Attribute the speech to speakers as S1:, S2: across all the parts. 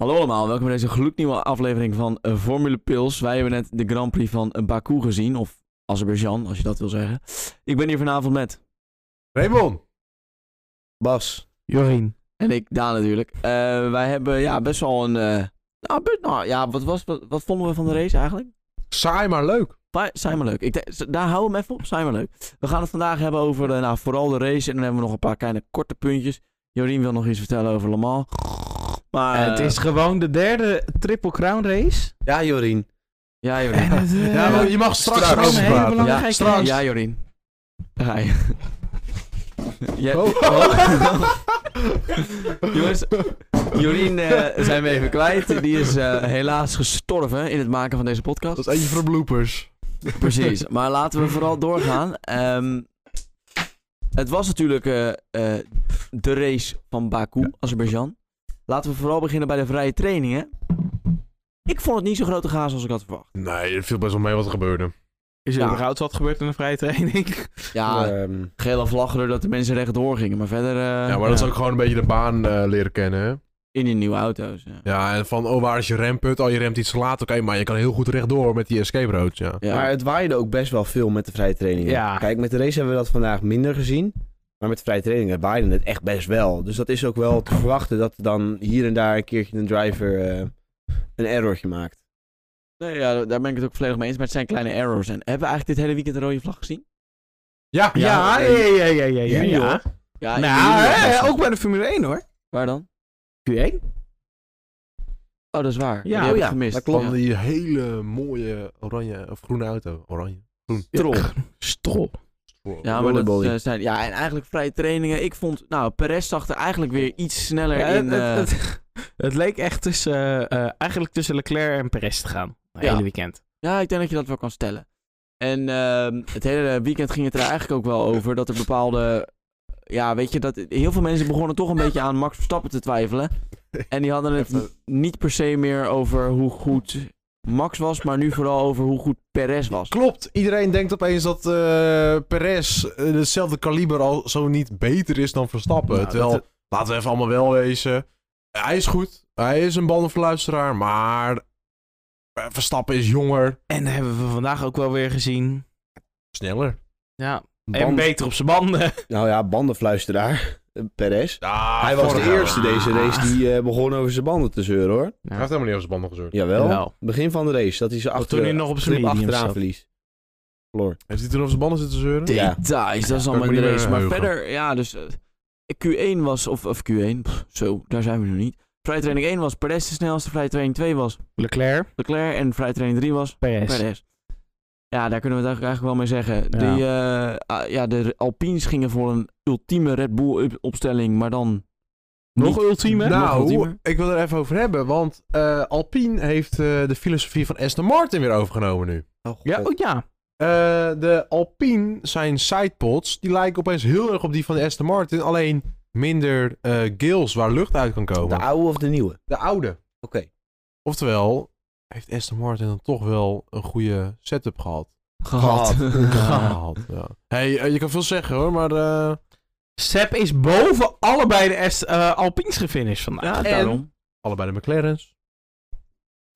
S1: Hallo allemaal, welkom bij deze gloednieuwe aflevering van eh, Formule Pils. Wij hebben net de Grand Prix van eh, Baku gezien, of Azerbeidzjan, als je dat wil zeggen. Ik ben hier vanavond met,
S2: Raymond. Bas.
S3: Jorien.
S1: en ik, Daan natuurlijk. Eh, wij hebben ja, best wel een... eh, nou, best- nou ja, wat, was, wat, wat vonden we van de race eigenlijk?
S2: Saai, maar leuk.
S1: Fi- Zijn maar leuk. Ik, denk- daar houden we hem even op, zijn maar leuk. We gaan het vandaag hebben over eh, nou, vooral de race en dan hebben we nog een paar kleine korte puntjes. Jorien wil nog iets vertellen over Le Mans. Maar,
S3: het
S1: eh,
S3: is gewoon de derde Triple Crown race.
S4: Ja, Jorien.
S1: Ja, Jorien.
S3: eh,
S2: Ja, maar je mag straks,
S3: Gewoon
S2: over
S3: een hele
S2: praten.
S3: belangrijke
S1: Ja,
S3: race.
S2: straks.
S1: Ja, Jorien. Daar ga je. Ja,
S2: Oh.
S1: Jongens, Jorien eh, zijn we even kwijt. Die is eh, helaas gestorven in het maken van deze podcast.
S2: Dat is eentje voor de bloopers.
S1: Precies. Maar laten we vooral doorgaan. Ehm, het was natuurlijk eh, eh, de race van Baku, Azerbeidzjan. Laten we vooral beginnen bij de vrije trainingen. Ik vond het niet zo'n grote gaas als ik had verwacht.
S2: Nee, het viel best wel mee wat er gebeurde.
S3: Is er
S1: Ja.
S3: überhaupt wat gebeurd in een vrije training?
S1: Ja,
S2: Ah.
S4: Ehm,
S1: gele vlag erdoor dat de mensen rechtdoor gingen. Maar verder eh,
S2: ja, maar dat is
S3: ja.
S2: ook gewoon een beetje de baan eh, leren kennen, hè?
S1: in die nieuwe auto's. Ja.
S2: Ja, en van, oh, waar is je remput? Oh, je remt iets te laat. Oké, maar je kan heel goed rechtdoor met die escape road, ja.
S1: Ja.
S4: Maar het waaide ook best wel veel met de vrije trainingen.
S3: Ja.
S4: Kijk, met de race hebben we dat vandaag minder gezien. Maar met de vrije trainingen waaide het echt best wel. Dus dat is ook wel te verwachten dat dan hier en daar een keertje een driver eh, een errortje maakt.
S1: Nee, ja, daar ben ik het ook volledig mee eens. Maar het zijn kleine errors. En hebben we eigenlijk dit hele weekend een rode vlag gezien?
S2: Ja,
S3: Ja, ja, ja, ja, ja. ja,
S1: Jullie,
S3: ja.
S1: hoor. Ja,
S3: Nou, hè, ook bij de Formule 1 hoor.
S1: Waar dan?
S3: Q1?
S1: Oh, dat is waar.
S3: Ja,
S1: die heb
S4: oh
S1: ik
S4: ja,
S1: gemist.
S4: dat
S2: Van
S4: klopt.
S2: die hele mooie oranje, of groene auto. Oranje.
S1: Trol.
S3: Strol.
S1: Ja, maar dat
S4: Rollerbally.
S1: eh, zijn... Ja, en eigenlijk vrije trainingen. Ik vond... Nou, Perez zag er eigenlijk weer iets sneller
S3: Ja,
S1: in.
S3: het,
S1: eh,
S3: het- het- het leek echt tussen, eh, eh, eigenlijk tussen Leclerc en Perez te gaan. Het
S1: Ja.
S3: hele weekend.
S1: Ja, ik denk dat je dat wel kan stellen. En ehm, het hele weekend ging het er eigenlijk ook wel over dat er bepaalde... Ja, weet je, dat heel veel mensen begonnen toch een beetje aan Max Verstappen te twijfelen. En die hadden het
S2: Even-
S1: niet per se meer over hoe goed Max was, maar nu vooral over hoe goed Perez was.
S2: Klopt, iedereen denkt opeens dat eh Perez eh, hetzelfde kaliber al zo niet beter is dan Verstappen.
S3: Nou,
S2: Terwijl,
S3: dat-
S2: laten we even allemaal wel wezen, hij is goed. Hij is een bandenverluisteraar, maar eh, Verstappen is jonger.
S3: En dat hebben we vandaag ook wel weer gezien.
S2: Sneller.
S3: Ja. En
S4: Band-
S3: beter op zijn banden.
S4: Nou ja, bandenfluisteraar. eh, Perez.
S2: Ja,
S4: Hij was de
S2: Ah, vorig jaar.
S4: eerste deze race die eh, begon over zijn banden te zeuren hoor.
S2: Hij heeft helemaal niet over zijn banden gezeurd.
S4: Jawel.
S3: Wel.
S4: Begin van de race. Dat hij ze achter,
S3: toen hij nog op zijn
S4: grip
S3: medium
S4: achteraan
S3: zat.
S4: verlies. Verloor.
S2: Heeft hij toen over zijn banden zitten zeuren?
S4: Ja.
S1: Details, dat is allemaal
S2: me
S1: in de
S2: niet
S1: race.
S2: meer
S1: Maar
S2: heugen.
S1: verder, ja, dus eh, Q1 was, of, of Q1, pff, zo, daar zijn we nu niet. Vrije training 1 was Perez de snelste, vrije training 2 was
S3: Leclerc,
S1: Leclerc en vrije training 3 was
S3: Perez.
S1: Perez. Ja, daar kunnen we het eigenlijk eigenlijk wel mee zeggen.
S3: Ja.
S1: Die, eh, ah, ja, de Alpines gingen voor een ultieme Red Bull up- opstelling, maar dan...
S3: Nog ultieme?
S1: Nou,
S2: Nou,
S1: Nog ultiemer.
S2: ik wil er even over hebben, want eh, Alpine heeft eh, de filosofie van Aston Martin weer overgenomen nu.
S3: Ja, oh ja.
S2: Eh, de Alpine zijn sidepods, die lijken opeens heel erg op die van de Aston Martin, alleen minder eh gills waar lucht uit kan komen.
S4: De oude of de nieuwe? Oké.
S2: De oude. Oftewel, heeft Aston Martin dan toch wel een goede setup gehad?
S1: Gehad.
S2: Gehad, ja. hey, eh, je kan veel zeggen hoor, maar... eh,
S3: Seb is boven allebei de S, eh, Alpines gefinished vandaag.
S1: ja,
S2: En-
S1: daarom.
S2: allebei de McLaren's.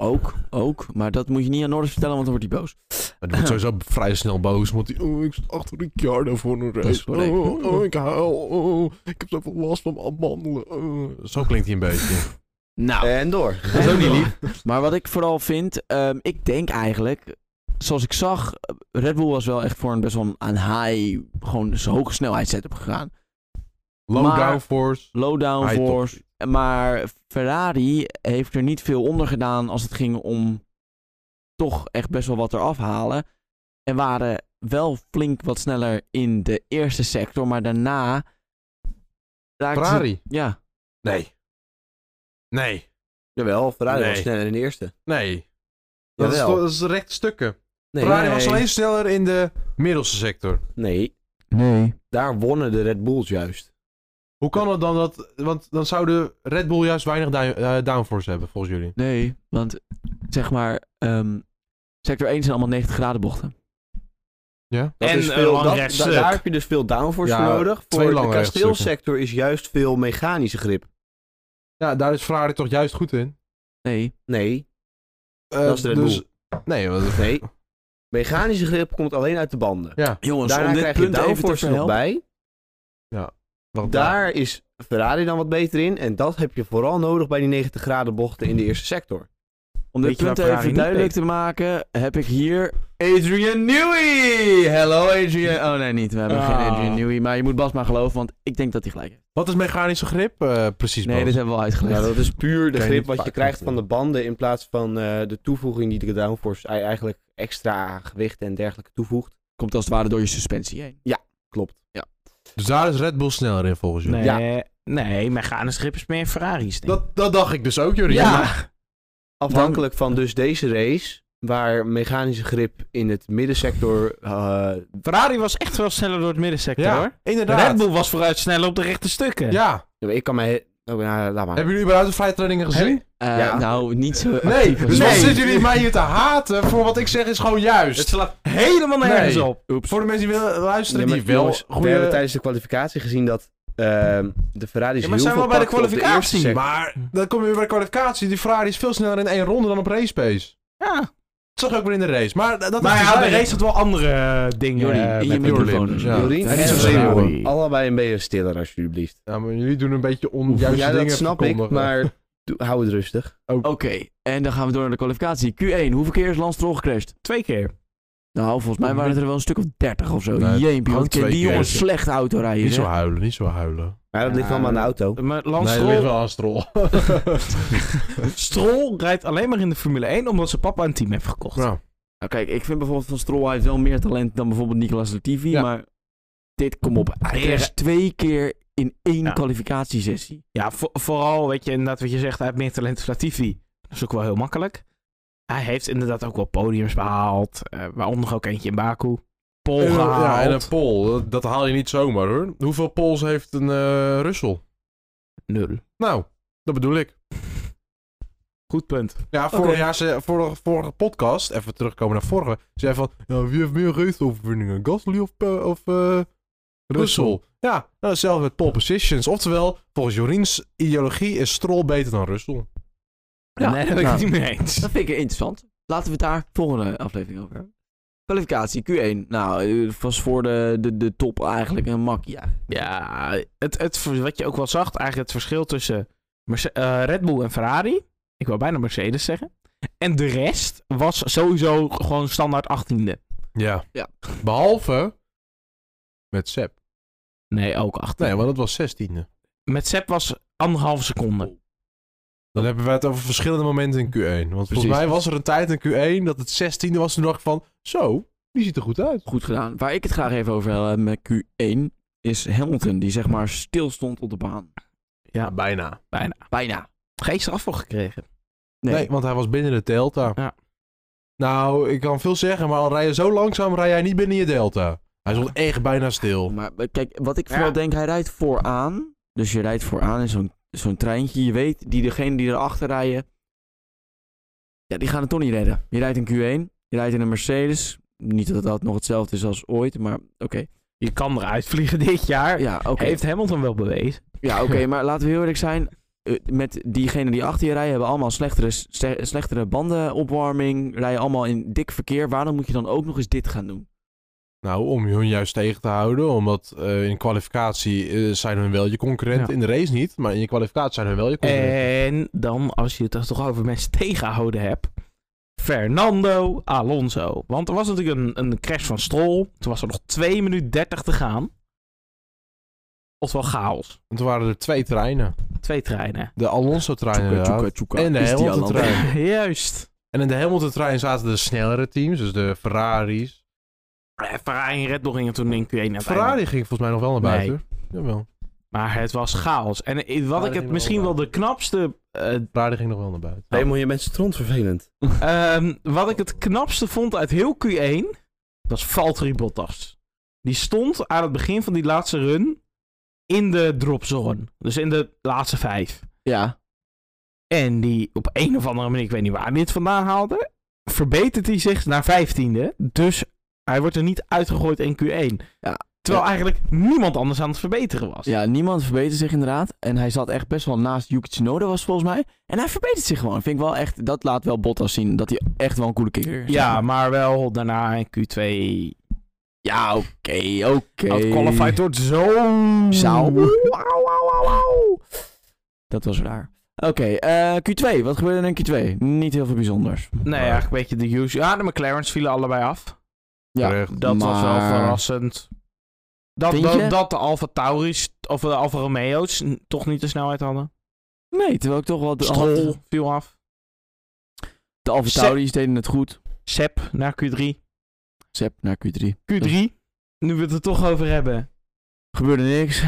S1: Ook, ook. Maar dat moet je niet aan Norris vertellen, want dan wordt hij boos.
S2: Maar die wordt sowieso vrij snel boos. Want die, oh, ik zit achter Ricciardo voor een
S1: Dat is
S2: race.
S1: correct.
S2: Oh, oh, ik huil. Oh, ik heb zoveel last van mijn Oh. mandelen. Zo klinkt hij een beetje.
S1: Nou,
S4: En door.
S3: Dat is ook niet lief.
S1: Maar wat ik vooral vind, ehm, ik denk eigenlijk, zoals ik zag, eh, Red Bull was wel echt voor een best wel een- een high, gewoon zo'n hoge snelheid setup gegaan.
S2: Low
S1: Maar-
S2: downforce.
S1: Low
S2: High top.
S1: downforce. Maar Ferrari heeft er niet veel onder gedaan als het ging om toch echt best wel wat eraf halen. En waren wel flink wat sneller in de eerste sector, maar daarna... raakten ze-
S2: Ferrari.
S1: Ja.
S2: Nee. Nee.
S4: Jawel, Ferrari
S2: Nee.
S4: was sneller in de eerste.
S2: Nee. Dat is,
S4: Jawel.
S2: toch- dat is recht stukken.
S4: Nee.
S2: Ferrari
S1: Nee.
S2: was alleen sneller in de middelste sector.
S4: Nee,
S1: Nee.
S4: daar wonnen de Red Bulls juist.
S2: Hoe kan dat dan? Dat, want dan zouden Red Bull juist weinig down- eh, downforce hebben, volgens jullie.
S1: Nee, want zeg maar, ehm, sector 1 zijn allemaal 90 graden bochten.
S2: Ja?
S4: Dat
S3: En
S4: is
S3: een
S4: veel,
S3: lang
S4: dat-
S3: recht
S4: da-
S3: stuk.
S4: daar heb je dus veel downforce
S2: Ja,
S4: voor nodig.
S2: twee
S4: Voor de
S2: lange rechtstukken.
S4: kasteelsector is juist veel mechanische grip.
S2: Ja, daar is Ferrari toch juist goed in.
S1: Nee.
S4: Nee,
S2: Eh,
S4: Dat is de Red
S2: dus, Nee, want-
S4: nee. Mechanische grip komt alleen uit de banden.
S2: ja. dus
S1: Jongens,
S4: Daarna
S1: om dit
S4: krijg je
S1: punt even te
S4: downforce er nog
S1: verhelpen.
S4: bij.
S2: Wat
S4: Daar is Ferrari dan wat beter in. En dat heb je vooral nodig bij die 90 graden bochten in de eerste sector.
S1: Om dit
S3: Weet je waar
S1: punt even
S3: Ferrari niet
S1: duidelijk te maken, heb ik hier Adrian Newey. Hello Adrian. Oh nee, niet. We hebben
S3: Ah.
S1: geen Adrian Newey. Maar je moet Bas maar geloven, want ik denk dat hij gelijk heeft.
S2: Wat is mechanische grip eh, precies?
S1: Nee,
S2: Bas?
S1: dit hebben we al uitgelegd.
S4: Nou, dat is puur de
S2: Kan je
S4: grip
S2: niet
S4: wat je
S2: pakken,
S4: krijgt van de
S2: natuurlijk.
S4: banden in plaats van eh, de toevoeging die de downforce ei- eigenlijk extra gewicht en dergelijke toevoegt.
S1: Komt als het ware door je suspensie heen.
S4: Klopt.
S2: Dus daar is Red Bull sneller in volgens jullie.
S3: Nee, nee mechanisch grip is meer Ferrari's. Denk. ik.
S2: Dat, dat dacht ik dus ook, Jurien.
S1: Ja.
S2: Maar-
S4: Afhankelijk van dus deze race, waar mechanische grip in het middensector... eh,
S3: Ferrari was echt wel sneller door het middensector
S2: Ja,
S3: hoor.
S2: inderdaad.
S3: Red Bull was vooruit sneller op de rechte stukken.
S2: Ja.
S4: ik kan mij... Oh, ja, laat maar.
S2: Hebben jullie überhaupt de vrije trainingen gezien?
S1: Eh,
S4: Ja.
S1: Nou, niet zo
S2: Nee.
S1: actief als
S2: Dus
S1: jij.
S2: wat
S3: Nee.
S2: zitten jullie mij hier te haten voor wat ik zeg is gewoon
S3: Het
S2: juist.
S3: slaat helemaal nergens
S2: Nee.
S3: op.
S2: Voor de mensen die willen luisteren,
S4: Ja, maar
S2: die wel
S4: jongens, We
S2: goede...
S4: hebben tijdens de kwalificatie gezien dat ehm, de Ferraris
S3: Ja, maar
S4: heel
S3: zijn we
S4: veel
S3: bij de
S4: pakten op eerste
S3: kwalificatie?
S4: sector.
S2: Maar dan kom je weer bij de kwalificatie. Die Ferrari is veel sneller in één ronde dan op race pace.
S3: Ja.
S2: Dat zag ik ook weer in de race. Maar dat- dat
S3: Maar
S2: is
S3: ja, de
S2: terzijde.
S3: race had wel andere eh, dingen.
S1: Jordi,
S3: eh,
S1: in
S3: met-
S1: je
S2: Jordi,
S1: microfoon.
S2: ja.
S4: Jorien
S2: Ja,
S4: en
S2: niet zo
S4: Raymond,
S1: Ferrari.
S4: allebei een beetje stiller alsjeblieft.
S2: Ja, maar jullie doen een beetje onjuiste
S4: ja,
S2: dingen
S4: dat snap ik,
S2: verkondigen.
S4: maar doe- hou het rustig.
S1: Oké, en dan gaan we door naar de kwalificatie. Q1, hoeveel keer is Lance Stroll gecrashed?
S3: Twee keer.
S1: Nou, volgens mij waren het er wel een stuk of 30 of zo.
S2: Nee,
S1: Jeempie,
S2: gewoon
S1: wat kan
S2: twee
S1: die
S2: keer.
S1: jongens slecht auto rijden.
S2: Niet zo
S1: zeg.
S2: huilen, niet zo huilen.
S4: Maar dat
S3: Ja,
S4: ligt allemaal aan de auto.
S3: Maar Lance
S2: nee, dat
S3: Stroll-
S2: ligt wel aan strol.
S3: Stroll rijdt alleen maar in de Formule 1 omdat zijn papa een team heeft gekocht.
S2: nou,
S1: Nou, kijk, ik vind bijvoorbeeld van Stroll hij heeft wel meer talent dan bijvoorbeeld Nicolas Latifi,
S2: Ja.
S1: maar dit, kom op, hij
S3: Heren.
S1: is twee keer in één
S3: Ja.
S1: kwalificatiesessie.
S3: Ja, vo- vooral, weet je, inderdaad wat je zegt, hij heeft meer talent dan Latifi. Dat is ook wel heel makkelijk. Hij heeft inderdaad ook wel podiums behaald, eh, waaronder nog ook eentje in Baku. Pol
S2: en-
S3: gehaald.
S2: ja, en een pol, dat, dat haal je niet zomaar hoor. Hoeveel pols heeft een eh Russel?
S3: Nul.
S2: Nou, dat bedoel ik.
S3: Goed punt.
S2: Ja, vorig jaar, ze, vorige, vorige podcast, even terugkomen naar vorige, zei van, ja, wie heeft meer raceoverwinningen, Gasly of, eh, of eh, Russell? Ja, nou, hetzelfde met pole positions. Oftewel, volgens Jorins ideologie is Stroll beter dan Russell.
S1: Ja,
S3: nee, dat ben ik
S1: nou.
S3: het niet mee eens.
S1: Dat vind ik interessant. Laten we het daar volgende aflevering over hebben. Kwalificatie Q1, nou, eh, was voor de, de, de top eigenlijk een makkie. eigenlijk.
S3: Ja, het, het, wat je ook wel zag, eigenlijk het verschil tussen Merce- eh, Red Bull en Ferrari. Ik wou bijna Mercedes zeggen. En de rest was sowieso gewoon standaard 18e.
S2: Ja.
S1: Ja.
S2: Behalve met Sepp.
S3: Nee, ook 18e.
S2: Nee, want dat was zestiende.
S3: Met Sepp was anderhalve seconde.
S2: Dan hebben we het over verschillende momenten in Q1. Want volgens
S1: Precies.
S2: mij was er een tijd in Q1 dat het 16e was. Toen dacht ik van, zo, die ziet er goed uit.
S1: Goed gedaan. Waar ik het graag even over wil hebben met Q1 is Hamilton, die zeg maar stil stond op de baan.
S3: Ja,
S2: bijna.
S3: bijna.
S1: Bijna.
S3: Geen straf voor gekregen.
S1: Nee.
S2: Nee. want hij was binnen de delta.
S3: Ja.
S2: Nou, ik kan veel zeggen, maar al rij je zo langzaam, rij jij niet binnen je delta. Hij stond echt bijna stil.
S1: Maar maar kijk, wat ik
S3: Ja.
S1: vooral denk, hij rijdt vooraan. Dus je rijdt vooraan in zo'n zo'n treintje. Je weet, die degene die erachter rijden, ja, die gaan het toch niet redden. Je rijdt in Q1, je rijdt in een Mercedes. Niet dat dat nog hetzelfde is als ooit, maar oké.
S3: Je kan eruit vliegen dit jaar.
S1: Ja, oké.
S3: Heeft Hamilton wel bewezen.
S1: Ja, oké, maar laten we heel eerlijk zijn. eh, Met diegenen die achter je rijden, hebben allemaal slechtere, ste- slechtere bandenopwarming. Rijden allemaal in dik verkeer. Waarom moet je dan ook nog eens dit gaan doen?
S2: Nou, om hun juist tegen te houden. Omdat eh, in kwalificatie eh, zijn hun wel je concurrent.
S3: Ja. Eh.
S2: In de race niet, maar in je kwalificatie zijn hun wel je concurrent.
S3: En dan, als je het er toch over mensen tegenhouden hebt. Fernando Alonso. Want er was natuurlijk een, een crash van Stroll. Toen was er nog 2 minuten 30 te gaan. Oftewel chaos.
S2: Want er waren er twee treinen.
S3: Twee treinen.
S2: De Alonso-trein
S1: Tjoeka,
S2: inderdaad.
S1: tjoeka, tjoeka.
S2: En de
S1: Is die al aan-
S2: Hamilton-trein.
S3: Juist.
S2: En in de Hamilton-trein zaten de snellere teams, dus de Ferraris.
S3: Eh, Ferrari en Red Bull gingen toen in Q1 uiteindelijk.
S2: Ferrari ging volgens mij nog wel naar
S3: Nee.
S2: buiten. Jawel.
S3: nou, Maar het was chaos. En eh, wat ik
S2: ging
S3: het
S2: wel
S3: misschien wel
S2: naar-
S3: de knapste eh,
S2: Ferrari ging nog wel naar buiten.
S4: Raymond, je bent stront vervelend.
S3: Ehm, wat ik het knapste vond uit heel Q1 was Valtteri Bottas. Die stond aan het begin van die laatste run in de dropzone. Dus in de laatste vijf.
S1: Ja,
S3: En die op een of andere manier, ik weet niet waar hij het vandaan haalde, verbetert hij zich naar vijftiende. Dus hij wordt er niet uitgegooid in Q1.
S1: Ja.
S3: Terwijl eigenlijk niemand anders aan het verbeteren was.
S1: Ja, niemand verbeterde zich inderdaad. En hij zat echt best wel naast Yuki Tsunoda was het volgens mij. En hij verbetert zich gewoon. Vind ik wel echt, dat laat wel Bottas zien dat hij echt wel een coole kicker is.
S3: Ja, maar wel daarna in Q2.
S1: Ja, oké, oké.
S3: Outqualified wordt zo.
S1: Zou. Dat was raar. Oké, eh, Q2. Wat gebeurde er in Q2? Niet heel veel bijzonders.
S3: Nee, eigenlijk een beetje de usual. Ja, de McLaren's vielen allebei af.
S1: Ja,
S2: Terecht.
S3: Dat was wel
S1: maar-
S3: verrassend. Dat,
S1: Vind je?
S3: dat, dat de Alfa Tauri's of de Alfa Romeo's n- toch niet de snelheid hadden.
S1: Nee, terwijl ik toch wel... De,
S3: Stroll viel af.
S1: de Alfa Tauri's deden het goed.
S3: Sep naar Q3.
S1: Zep naar Q3.
S3: Q3. Nu we het er toch over hebben.
S1: Gebeurde niks.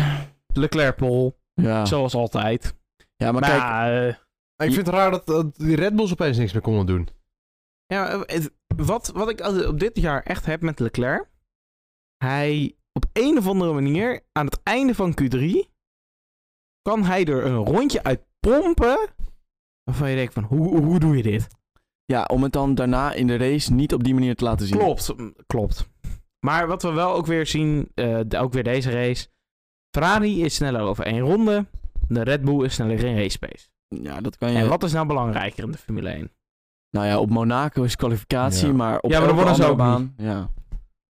S3: Leclerc pole.
S1: Ja,
S3: Zoals altijd.
S1: ja maar
S3: Maar,
S1: kijk...
S3: ja, eh,
S2: Ik vind het raar dat eh, die Red Bulls opeens niks meer konden doen.
S3: ja, eh, het- wat, wat ik al- op dit jaar echt heb met Leclerc. Hij op een of andere manier aan het einde van Q3 kan hij er een rondje uit pompen. Waarvan je denkt van hoe, hoe doe je dit?
S1: Ja, om het dan daarna in de race niet op die manier te laten zien.
S3: Klopt, m, klopt. Maar wat we wel ook weer zien, eh, de- ook weer deze race. Ferrari is sneller over één ronde. De Red Bull is sneller in race pace.
S1: Ja, dat kan je...
S3: En wat is nou belangrijker in de Formule 1?
S1: Nou ja, op Monaco is kwalificatie,
S2: Ja.
S1: maar op
S3: Ja, maar dan
S1: elke
S3: wonnen ze
S1: andere
S3: ook
S1: baan. Ja.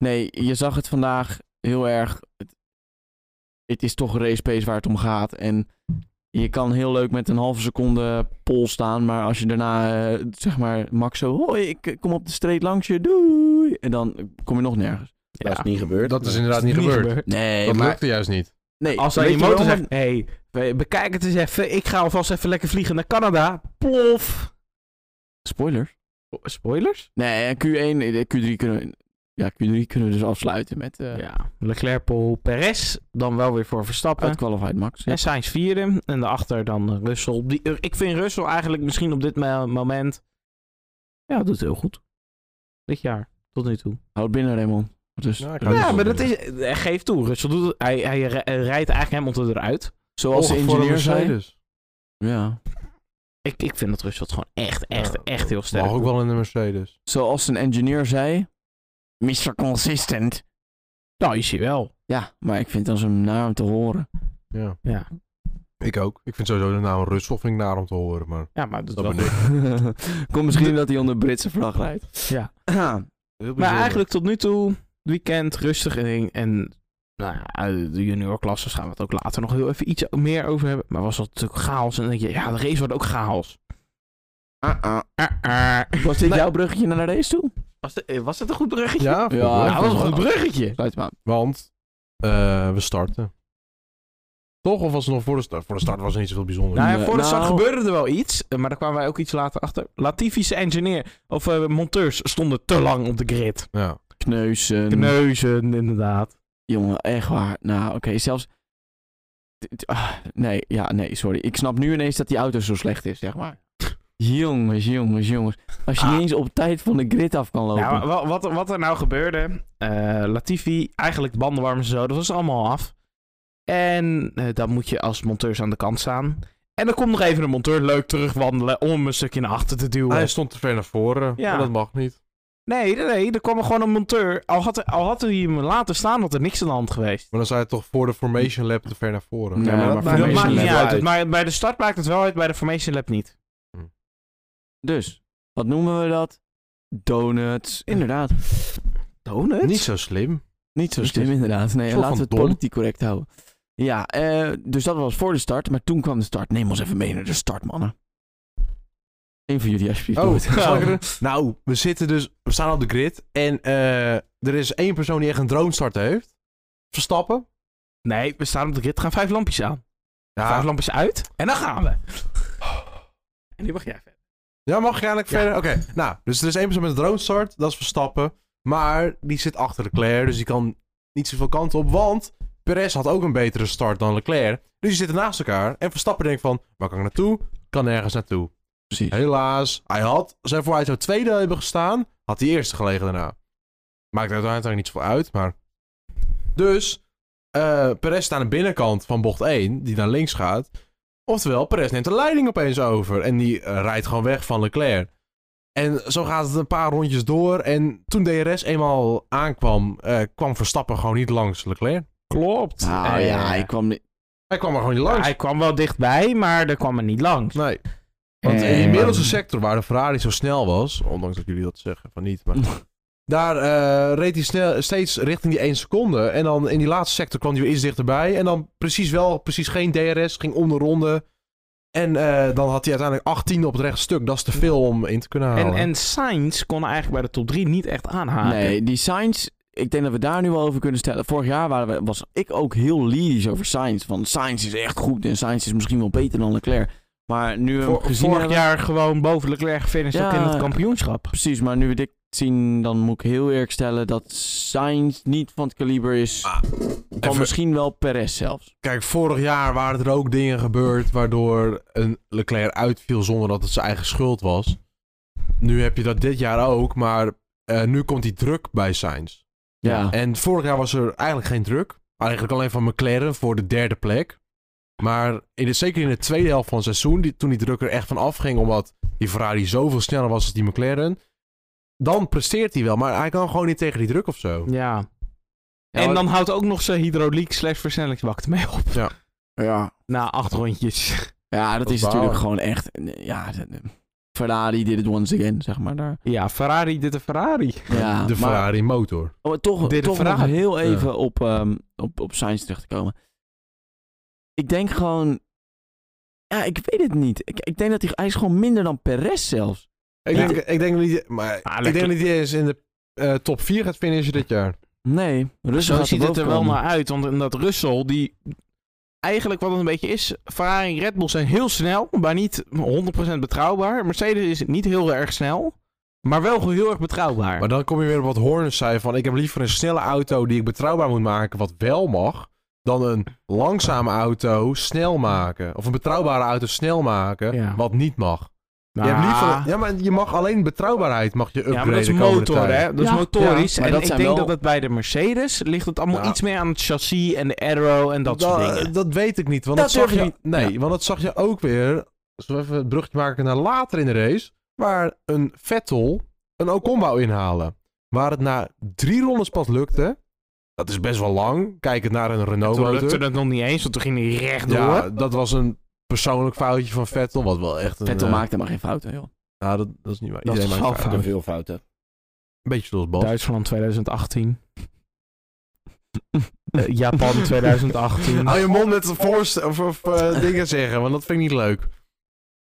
S1: Nee, je zag het vandaag heel erg. Het, het is toch een race pace waar het om gaat. En je kan heel leuk met een halve seconde pol staan, maar als je daarna eh, zeg maar max zo, hoi, ik eh, kom op de streep langs je, doei. En dan kom je nog nergens.
S3: Ja.
S4: Dat is niet gebeurd.
S2: Dat is inderdaad niet gebeurd.
S1: Nee,
S2: Dat
S1: maar-
S2: lukte juist niet.
S1: nee
S3: Als hij
S1: weet
S3: je
S1: wel
S3: motor
S1: wat-
S3: zegt, hé, hey, bekijk het eens even. Ik ga alvast even lekker vliegen naar Canada. Plof.
S1: Spoilers.
S3: Oh, Spoilers?
S1: Nee, Q1, eh, Q3 kunnen we... Ja, Q3 kunnen we dus afsluiten met eh
S3: Ja. Leclerc, Pol, Perez. Dan wel weer voor Verstappen.
S1: uitqualified max. Ja.
S3: En Sainz vierde. En daarachter dan eh, Russell. Die, eh, ik vind Russell eigenlijk misschien op dit me- moment... Ja, doet heel goed. Dit jaar. Tot nu toe.
S1: Houd binnen, Raymond. Dus,
S2: Ja, ik hou
S3: Ja,
S2: Russell
S3: maar dat
S2: weer.
S3: is... eh, Geef toe. Russell doet het. Hij, hij r- eh, rijdt eigenlijk hem onder eruit.
S1: Zoals de
S2: Och, voor een
S1: ingenieur zei.
S2: Mercedes.
S1: Ja.
S3: Ik, ik vind dat Russell het gewoon echt, echt,
S2: Ja,
S3: echt heel sterk
S2: Mag ook wel in de Mercedes.
S1: Zoals een engineer zei. Mr. Consistent.
S3: Nou, is hij wel.
S1: Ja, maar ik vind het als een naam te horen.
S2: Ja.
S3: Ja.
S2: Ik ook. Ik vind sowieso de naam Russell vind ik naar om te horen, maar
S3: Ja, maar dat,
S2: dat
S3: wel
S2: ben ik.
S1: Komt misschien dat hij onder Britse vlag rijdt.
S3: Ja.
S1: Ja.
S3: Maar eigenlijk tot nu toe, weekend, rustig en, en nou ja, de juniorklasses gaan we het ook later nog heel even iets meer over hebben. Maar was dat natuurlijk chaos. En dan denk je, ja, de race wordt ook chaos.
S1: Ah, ah.
S3: Ah, ah.
S1: Was dit
S3: Nee.
S1: jouw bruggetje naar de race toe?
S3: Was, de- was het een goed bruggetje?
S2: Ja,
S1: Ja,
S2: ja,
S3: dat was een goed bruggetje.
S1: Sluit hem aan.
S2: Want eh, we starten. Toch? Of was het nog voor de start? Voor de start was er niet zoveel bijzonder.
S3: Nou, ja,
S1: Nee,
S3: voor de
S1: nou-
S3: start gebeurde er wel iets, eh, maar daar kwamen wij ook iets later achter. Latifi's engineer, of eh, monteurs, stonden te lang op de grid.
S2: Ja.
S1: Kneuzen.
S3: Kneuzen, inderdaad.
S1: Jongen, echt waar. Nou, oké, zelfs... D- d- ah, nee, ja, nee, sorry. Ik snap nu ineens dat die auto zo slecht is, zeg maar. Jongens, jongens, jongens. Als je
S3: Ah.
S1: niet eens op tijd van de grid af kan lopen.
S3: Ja, maar wa- wat, wat er nou gebeurde, eh, Latifi, eigenlijk bandenwarmers en zo, dat was allemaal af. En eh, dan moet je als monteurs aan de kant staan. En dan komt nog even een monteur leuk terugwandelen om hem een stukje naar achter te duwen.
S2: Hij stond te ver naar voren.
S3: Ja.
S2: Maar dat mag niet.
S3: Nee, nee, nee, er kwam er gewoon een monteur. Al had, hij- al had hij hem laten staan, had er niks aan de hand geweest.
S2: Maar dan zei hij toch voor de Formation Lab te ver naar voren.
S1: Nee, maar
S2: dat
S1: voor
S3: Dat
S1: Formation
S3: maakt niet
S1: Lab
S3: uit.
S1: wel
S3: Het maakt- bij de start maakt het wel uit, bij de Formation Lab niet.
S1: Dus, wat noemen we dat? Donuts. Inderdaad.
S3: Donuts?
S2: Niet zo slim.
S1: Niet zo
S2: Niet
S1: slim,
S2: zo-
S1: inderdaad. Nee, laten
S2: soort
S1: we
S2: van
S1: het
S2: dom.
S1: politiek correct houden. Ja, eh, dus dat was voor de start. Maar toen kwam de start. Neem ons even mee naar de start, mannen. Eén van jullie, alsjeblieft. doe
S2: Oh,
S1: het.
S2: zal ik er- nou, we zitten dus, we staan op de grid en eh, er is één persoon die echt een droomstart heeft. Verstappen.
S3: Nee, we staan op de grid, gaan vijf lampjes aan.
S2: Ja,
S3: Vijf lampjes uit en dan gaan we. En nu mag jij verder.
S2: ja mag je eigenlijk verder? Oké, nou, dus er is één persoon met een droomstart, dat is Verstappen. Maar die zit achter Leclerc, dus die kan niet zoveel kanten op, want Perez had ook een betere start dan Leclerc. Dus die zitten naast elkaar en Verstappen denkt van, waar kan ik naartoe? Kan nergens naartoe.
S1: Precies.
S2: Helaas, hij had, zijn voor hij zou tweede hebben gestaan, had hij eerste gelegen daarna. Maakt uiteindelijk niet zoveel uit, maar... Dus, eh Perez staat aan de binnenkant van bocht 1, die naar links gaat. Oftewel, Perez neemt de leiding opeens over en die eh, rijdt gewoon weg van Leclerc. En zo gaat het een paar rondjes door. En toen DRS eenmaal aankwam, eh, kwam Verstappen gewoon niet langs Leclerc.
S3: Klopt.
S1: Nou
S3: Eh,
S1: ja, ik kwam niet...
S2: Hij kwam er gewoon niet
S3: ja,
S2: langs.
S3: hij kwam wel dichtbij, maar er kwam er niet langs.
S2: Nee. Want
S1: Eh,
S2: in die middelste sector waar de Ferrari zo snel was, ondanks dat jullie dat zeggen van niet, maar daar eh, reed hij snel, steeds richting die 1 seconde. En dan in die laatste sector kwam hij weer iets dichterbij. En dan precies wel, precies geen DRS, ging om de ronde. En eh, dan had hij uiteindelijk 18 op het rechte stuk. Dat is te veel om in te kunnen halen.
S3: En, en Sainz kon eigenlijk bij de top 3 niet echt aanhaken.
S1: Nee, die Sainz, ik denk dat we daar nu wel over kunnen stellen. Vorig jaar waren we, was ik ook heel lyrisch over Sainz. Van Sainz is echt goed en Sainz is misschien wel beter dan Leclerc. Maar nu we hem
S3: Vor-
S1: gezien
S3: vorig
S1: hebben...
S3: jaar gewoon boven Leclerc gefinished ook
S1: Ja.
S3: in het kampioenschap.
S1: Precies, maar nu we dit zien, dan moet ik heel eerlijk stellen dat Sainz niet van het kaliber is.
S2: Ah,
S1: van
S2: even-
S1: misschien wel Perez zelfs.
S2: Kijk, vorig jaar waren er ook dingen gebeurd waardoor een Leclerc uitviel zonder dat het zijn eigen schuld was. Nu heb je dat dit jaar ook, maar eh, nu komt die druk bij Sainz.
S1: Ja.
S2: En vorig jaar was er eigenlijk geen druk. Eigenlijk alleen van McLaren voor de derde plek. Maar in de, zeker in de tweede helft van het seizoen, die, toen die druk er echt van afging, omdat die Ferrari zoveel sneller was als die McLaren, dan presteert hij wel. Maar hij kan gewoon niet tegen die druk of zo.
S3: Ja.
S1: Ja,
S3: En
S1: maar-
S3: dan houdt ook nog zijn hydrauliek slash versnellingsbak mee op.
S1: ja.
S3: Na acht rondjes.
S1: Ja, dat,
S2: Dat
S1: is
S2: balen.
S1: natuurlijk gewoon echt... Ja, de- de- Ferrari did it once again, zeg maar. Daar.
S3: Ja, Ferrari dit een Ferrari.
S1: Ja,
S2: de
S1: maar-
S2: Ferrari motor.
S1: Oh, maar toch,
S3: Dit
S1: toch nog
S3: vraag.
S1: heel even op, ehm op, op Science terug te komen. Ik denk gewoon... Ja, ik weet het niet. Ik, ik denk dat hij, hij is gewoon minder dan Perez zelfs.
S2: Ik,
S1: Ja.
S2: denk, ik denk niet, maar
S3: Ah,
S2: ik
S3: lekker.
S2: denk dat hij eens in de eh, top 4 gaat finishen dit jaar.
S1: Nee, Russell
S3: Zo
S1: gaat
S3: ziet het er wel
S1: boven komen.
S3: naar uit. Want in dat Russell, die... Eigenlijk wat het een beetje is, Ferrari en Red Bull zijn heel snel, maar niet 100% betrouwbaar. Mercedes is niet heel erg snel, maar wel gewoon heel erg betrouwbaar.
S2: Maar dan kom je weer op wat Horners zei van ik heb liever een snelle auto die ik betrouwbaar moet maken wat wel mag, dan een langzame auto snel maken. Of een betrouwbare auto snel maken
S3: Ja.
S2: wat niet mag.
S3: Nou,
S2: Je hebt liever, ja, maar je mag alleen betrouwbaarheid mag je upgraden
S3: Ja, maar dat is
S2: komende
S3: motor,
S2: tijd.
S3: hè? Dat is
S1: Ja.
S3: motorisch.
S1: Ja, maar
S3: en
S1: dat
S3: ik
S1: zijn
S3: denk
S1: wel-
S3: dat het bij de Mercedes ligt het allemaal
S2: Ja.
S3: iets meer aan het chassis en de aero en dat soort dingen.
S2: dat weet ik niet, want
S1: Dat
S2: dat, zag
S1: durf
S2: je,
S1: ik niet.
S2: Nee, want dat zag je ook weer, als we even het brugje maken naar later in de race, waar een Vettel een Ocon wou inhalen. Waar het na drie rondes pas lukte, dat is best wel lang, kijkend naar een Renault
S3: toen
S2: motor.
S3: lukte het nog niet eens, want toen ging hij rechtdoor.
S2: Ja, dat was een persoonlijk foutje van Vettel, wat wel echt een...
S1: Vettel
S2: eh,
S1: maakt helemaal geen fouten, joh.
S2: Nou, dat, dat is niet waar.
S3: Dat
S2: Iedereen
S3: is
S2: maakt
S3: wel
S2: fouten.
S4: Te veel fouten.
S2: Een beetje zoals Bas.
S3: Duitsland 2018. Eh, Japan 2018.
S2: Hou je mond met voorst of, of eh, dingen zeggen, want dat vind ik niet leuk.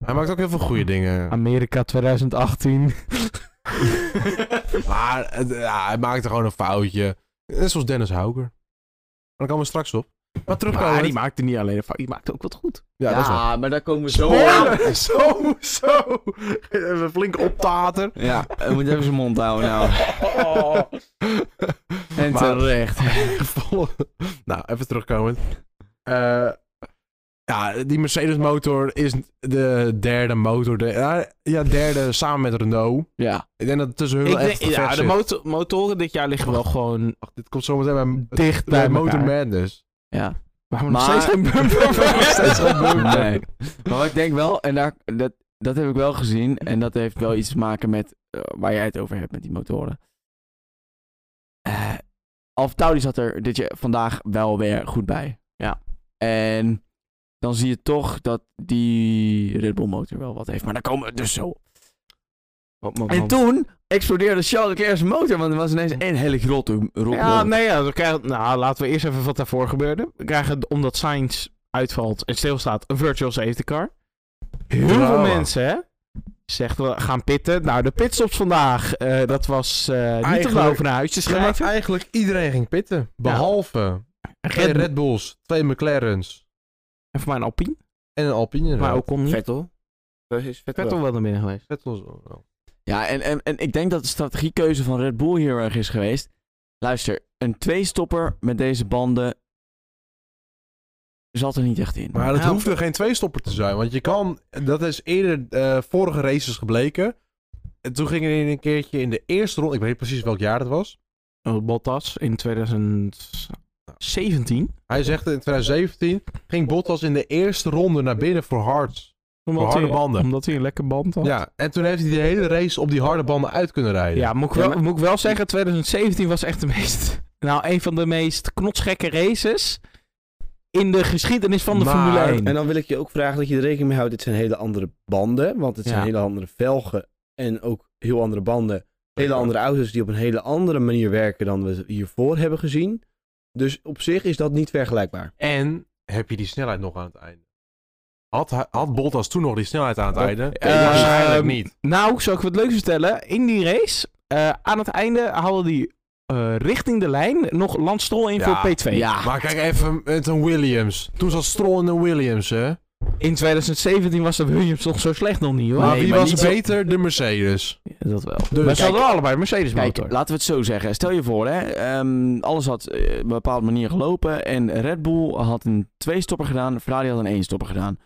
S2: Hij maakt ook heel veel goede dingen.
S3: Amerika 2018.
S2: Maar het- ja, hij maakte gewoon een foutje. Net zoals Dennis Hauger. Maar daar komen we straks op. Maar
S3: Maar
S2: terugkomen.
S3: die maakte niet alleen een fout, die maakte ook wat goed.
S2: ja, dat is wel.
S1: maar daar komen we zo
S2: Spoiler! Zo, zo. Even flink optater.
S1: Ja,
S3: Eh,
S1: hij moet even zijn mond houden nou.
S3: Oh.
S1: En
S2: Maar-
S1: terecht.
S2: Volle- nou, even terugkomen. Eh, ja, die Mercedes motor is de derde motor. De, ja, ja, derde samen met Renault.
S1: Ja,
S2: Ik denk dat tussen hun
S3: Ik
S2: wel
S3: denk,
S2: echt gevecht
S3: ja, de
S2: zit.
S3: moto- motoren dit jaar liggen wel gewoon
S2: Wacht, dit komt zo meteen bij,
S3: dicht bij
S2: bij Motor
S3: elkaar.
S2: Madness.
S1: ja.
S3: Maar we
S1: Maar-
S3: nog steeds geen bumper
S2: Nog steeds geen bumper.
S1: Nee. Maar ik denk wel, en daar, dat, dat heb ik wel gezien, en dat heeft wel iets te maken met eh, waar jij het over hebt met die motoren. Eh Alf Tauri zat er dit jaar, vandaag wel weer goed bij.
S3: Ja.
S1: En dan zie je toch dat die Red Bull motor wel wat heeft. Maar daar komen we dus zo. op. En toen explodeerde Charles Leclerc's motor, want er was ineens één hele grote rock.
S3: Ja, nee, ja, we krijgen, nou, laten we eerst even wat daarvoor gebeurde. We krijgen, omdat Sainz uitvalt en stilstaat, een virtual safety car. Heel veel
S2: Drama.
S3: mensen, hè? Zegt we gaan pitten. Nou, de pitstops vandaag, eh, dat was eh, niet om
S2: Eigenlijk-
S3: over naar huis te schrijven.
S2: eigenlijk iedereen ging pitten. Behalve twee
S3: Red,
S2: Red, Bulls, twee McLaren's
S3: en voor mij een Alpine,
S2: en een Alpine.
S3: maar ook kon niet.
S4: Vettel? Dat is Vettel.
S3: Vettel wel naar binnen geweest.
S2: Vettel is wel-
S1: Ja, en, en, en ik denk dat de strategiekeuze van Red Bull hier erg is geweest. Luister, een tweestopper met deze banden zat er niet echt in.
S2: Maar dat
S3: Nou.
S2: hoeft er geen tweestopper te zijn. Want je kan, dat is eerder eh, vorige races gebleken. En toen ging er een keertje in de eerste ronde, ik weet niet precies welk jaar dat was.
S3: Eh, Bottas in 2017.
S2: Hij zegt in 2017 ging Bottas in de eerste ronde naar binnen voor Hards.
S3: Omdat
S2: harde
S3: hij,
S2: banden.
S3: Omdat hij een lekker band had.
S2: Ja, en toen heeft hij de hele race op die harde banden uit kunnen rijden.
S3: Ja, moet ik, wel,
S4: Ja, maar-
S3: moet ik wel zeggen, 2017 was echt de meest... Nou, een van de meest knotsgekke races in de geschiedenis van de
S2: Maar-
S3: Formule 1.
S4: En dan wil ik je ook vragen dat je er rekening mee houdt. Dit zijn hele andere banden. Want het zijn
S3: Ja.
S4: hele andere velgen. En ook heel andere banden. Hele andere auto's die op een hele andere manier werken dan we hiervoor hebben gezien. Dus op zich is dat niet vergelijkbaar.
S2: En heb je die snelheid nog aan het einde? Had, hij- had Bottas toen nog die snelheid aan het einde?
S3: Eh,
S2: Waarschijnlijk
S3: ehm,
S2: niet.
S3: Nou, zou ik wat leuks vertellen. In die race, eh, aan het einde hadden die eh, richting de lijn nog Lance Stroll in
S2: Ja.
S3: voor P2.
S1: Ja.
S2: Maar kijk even met een Williams. Toen zat Stroll in een Williams, hè?
S3: In 2017 was de Williams nog zo slecht nog niet hoor.
S2: maar
S1: Nee,
S2: wie
S1: maar
S2: was
S1: niet zo-
S2: beter? De Mercedes.
S3: Ja, dat wel.
S2: Dus-
S3: maar ze
S2: Kijk-
S3: hadden allebei een Mercedes
S1: Kijk,
S3: motor.
S1: laten we het zo zeggen. Stel je voor, hè, ehm, alles had eh, op een bepaalde manier gelopen. En Red Bull had een twee-stopper gedaan. Ferrari had een één-stopper gedaan.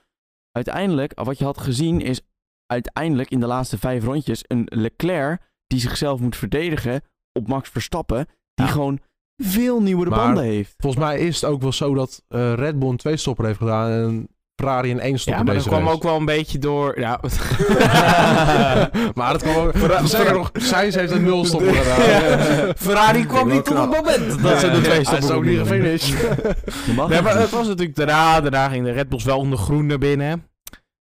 S1: Uiteindelijk, wat je had gezien, is uiteindelijk in de laatste vijf rondjes een Leclerc die zichzelf moet verdedigen op Max Verstappen. Die
S3: Ja.
S1: gewoon veel nieuwere
S2: Maar-
S1: banden heeft.
S2: Volgens mij is het ook wel zo dat eh, Red Bull een twee-stopper heeft gedaan en Ferrari een één-stopper
S3: ja, maar dat
S2: deze
S3: kwam
S2: race.
S3: ook wel een beetje door. Ja,
S2: maar het kwam ook...
S3: Ferra-
S2: Zeker nog, Sainz heeft een nulstopper gedaan.
S3: Ja. Ferrari kwam
S2: Wel
S3: niet tot het
S2: knap.
S3: moment dat ze de twee
S2: Hij is ook niet
S3: stoppen.
S2: gefinished.
S1: Je
S2: Oh,
S1: mag
S3: Nee,
S1: het
S3: maar
S1: niet.
S3: het was natuurlijk daarna. Daarna ging de Red Bulls wel onder groen naar binnen.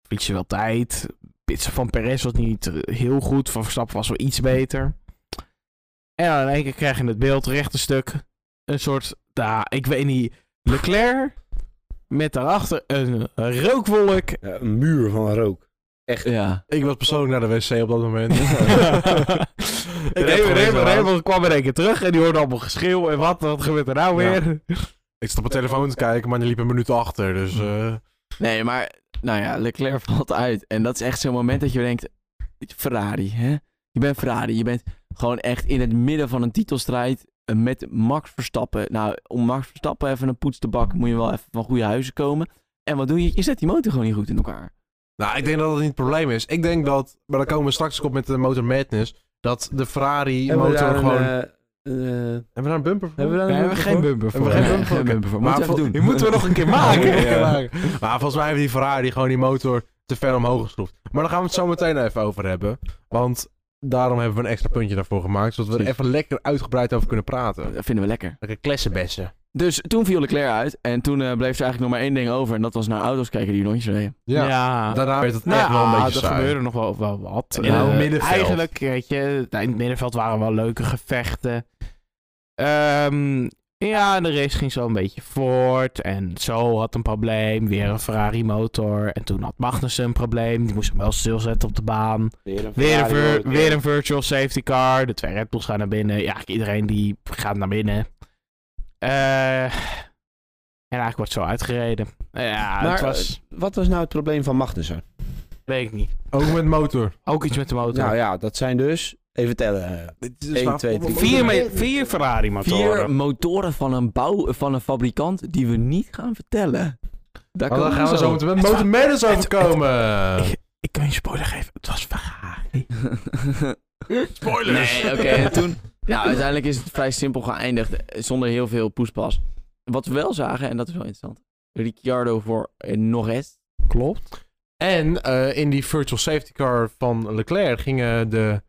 S3: Verlies je wel tijd. Pitsen van Perez was niet eh, heel goed. Van Verstappen was wel iets beter. En dan in één keer krijg je het beeld, rechte stuk. Een soort, nou, ik weet niet, Leclerc. Met daarachter een rookwolk.
S4: Ja, een muur van rook.
S1: Ja.
S2: Ik was persoonlijk naar de wc op dat moment.
S3: Raymond, Raymond, Raymond kwam in één keer terug en die hoorde allemaal geschreeuw. En wat, wat gebeurt er nou
S2: Ja.
S3: weer?
S2: Ik zat op mijn telefoon te kijken, maar die liep een minuut achter. Dus eh,
S1: Nee, maar nou ja, Leclerc valt uit. En dat is echt zo'n moment dat je denkt, Ferrari, hè? Je bent Ferrari. Je bent gewoon echt in het midden van een titelstrijd eh, met Max Verstappen. Nou, om Max Verstappen even een poets te bakken, moet je wel even van goede huizen komen. En wat doe je? Je zet die motor gewoon niet goed in elkaar.
S2: Nou, ik denk dat dat niet het probleem is. Ik denk dat, maar daar komen we straks op met de Motor Madness, dat de Ferrari
S4: Hebben we
S2: motor
S4: daar een,
S2: gewoon...
S4: eh, een, eh,
S2: Hebben we daar een bumper voor?
S4: hebben we daar
S3: Daar hebben we
S4: een muur
S3: geen
S4: voor?
S3: bumper voor.
S2: Hebben we geen
S3: Nee.
S2: bumper?
S1: geen bumper voor.
S2: Maar
S1: Moeten we
S2: vol-
S1: even
S3: Die
S1: doen.
S3: moeten we nog een keer
S2: Oké,
S3: maken.
S2: ja. Maar volgens mij heeft die Ferrari gewoon die motor te ver omhoog geschroefd. Maar daar gaan we het zo meteen even over hebben. Want daarom hebben we een extra puntje daarvoor gemaakt, zodat we er even lekker uitgebreid over kunnen praten.
S1: Dat vinden we lekker.
S2: Lekker klessenbessen.
S1: Dus toen viel Leclerc uit. En toen eh, bleef er eigenlijk nog maar één ding over. En dat was naar auto's kijken die rondjes reden.
S2: Ja.
S3: Ja.
S2: Daarna werd het echt
S3: Nou,
S2: wel een beetje
S3: er
S2: saai.
S3: gebeurde nog wel, wel wat.
S2: In het
S3: Eh,
S2: middenveld.
S3: Eigenlijk, weet je, nou, in het middenveld waren wel leuke gevechten. Ehm, ja, en de race ging zo een beetje voort. En zo had een probleem. Weer een Ferrari motor. En toen had Magnussen een probleem. Die moest hem wel stilzetten op de baan. Weer een, vir- weer een virtual safety car. De twee Red Bulls gaan naar binnen. Ja, eigenlijk iedereen die gaat naar binnen. Eh, en eigenlijk wordt zo uitgereden. Ja,
S4: Maar,
S3: het was...
S4: Wat was nou het probleem van Magnussen?
S3: Weet ik niet.
S2: Ook met motor.
S3: Ook iets met de motor.
S4: Nou ja, dat zijn dus... Even tellen.
S3: Dus
S4: Eén, waar- twee, drie.
S3: Vier, me- vier Ferrari
S1: Vier
S3: motoren.
S1: motoren van een, bouw, van een fabrikant die we niet gaan vertellen. Daar
S2: Maar Oh, dan
S1: komen
S2: gaan we zo meteen met
S3: Het
S2: Motor
S3: wa-
S2: Madness
S3: het-
S2: overkomen.
S3: Ik, ik kan je een spoiler geven. Het was Ferrari.
S2: Spoilers.
S1: Nee, oké. En toen, nou, uiteindelijk is het vrij simpel geëindigd. eh, Zonder heel veel poespas. Wat we wel zagen, en dat is wel interessant. Ricciardo voor eh, Norris.
S3: Klopt.
S2: En eh, in die virtual safety car van Leclerc gingen de...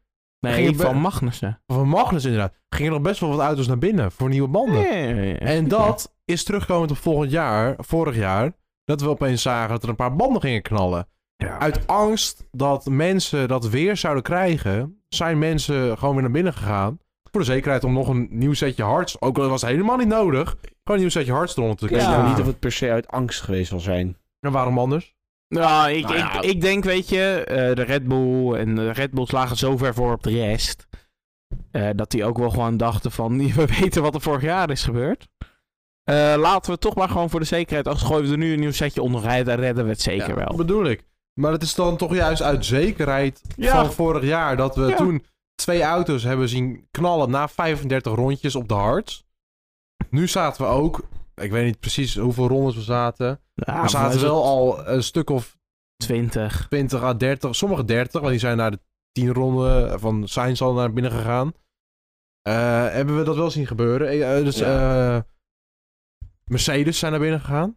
S2: Ging
S3: Nee,
S2: het be-
S3: van Magnussen.
S2: Van Magnus inderdaad. Gingen nog best wel wat auto's naar binnen voor nieuwe banden. En dat is terugkomend op volgend jaar, vorig jaar... dat we opeens zagen dat er een paar banden gingen knallen. Uit angst dat mensen dat weer zouden krijgen... zijn mensen gewoon weer naar binnen gegaan... voor de zekerheid om nog een nieuw setje hards... ook al was het helemaal niet nodig... gewoon een nieuw setje hards eronder te
S4: Ik weet
S2: krijgen.
S4: nou niet of het per se uit angst geweest zal zijn.
S2: En waarom anders?
S3: Nou, ik,
S2: Nou ja.
S3: ik, ik denk, weet je, eh, de Red Bull en de Red Bulls lagen zo ver voor op de rest. eh, dat die ook wel gewoon dachten van, we weten wat er vorig jaar is gebeurd. Eh, laten we toch maar gewoon voor de zekerheid, als gooien we er nu een nieuw setje onderuit, dan redden we het zeker
S1: Ja.
S3: wel.
S2: Dat bedoel ik. Maar het is dan toch juist uit zekerheid
S3: Ja.
S2: van vorig jaar dat we
S3: Ja.
S2: toen twee auto's hebben zien knallen na 35 rondjes op de hard. Nu zaten we ook, ik weet niet precies hoeveel rondes we zaten.
S3: Ja,
S2: we
S3: volgens
S2: zaten
S3: mij
S2: wel al een stuk of
S3: 20.
S2: 20 à 30, sommige 30, want die zijn naar de 10 ronden van Sainz al naar binnen gegaan. Eh, hebben we dat wel zien gebeuren? Eh, eh, dus, eh, Mercedes zijn naar binnen gegaan.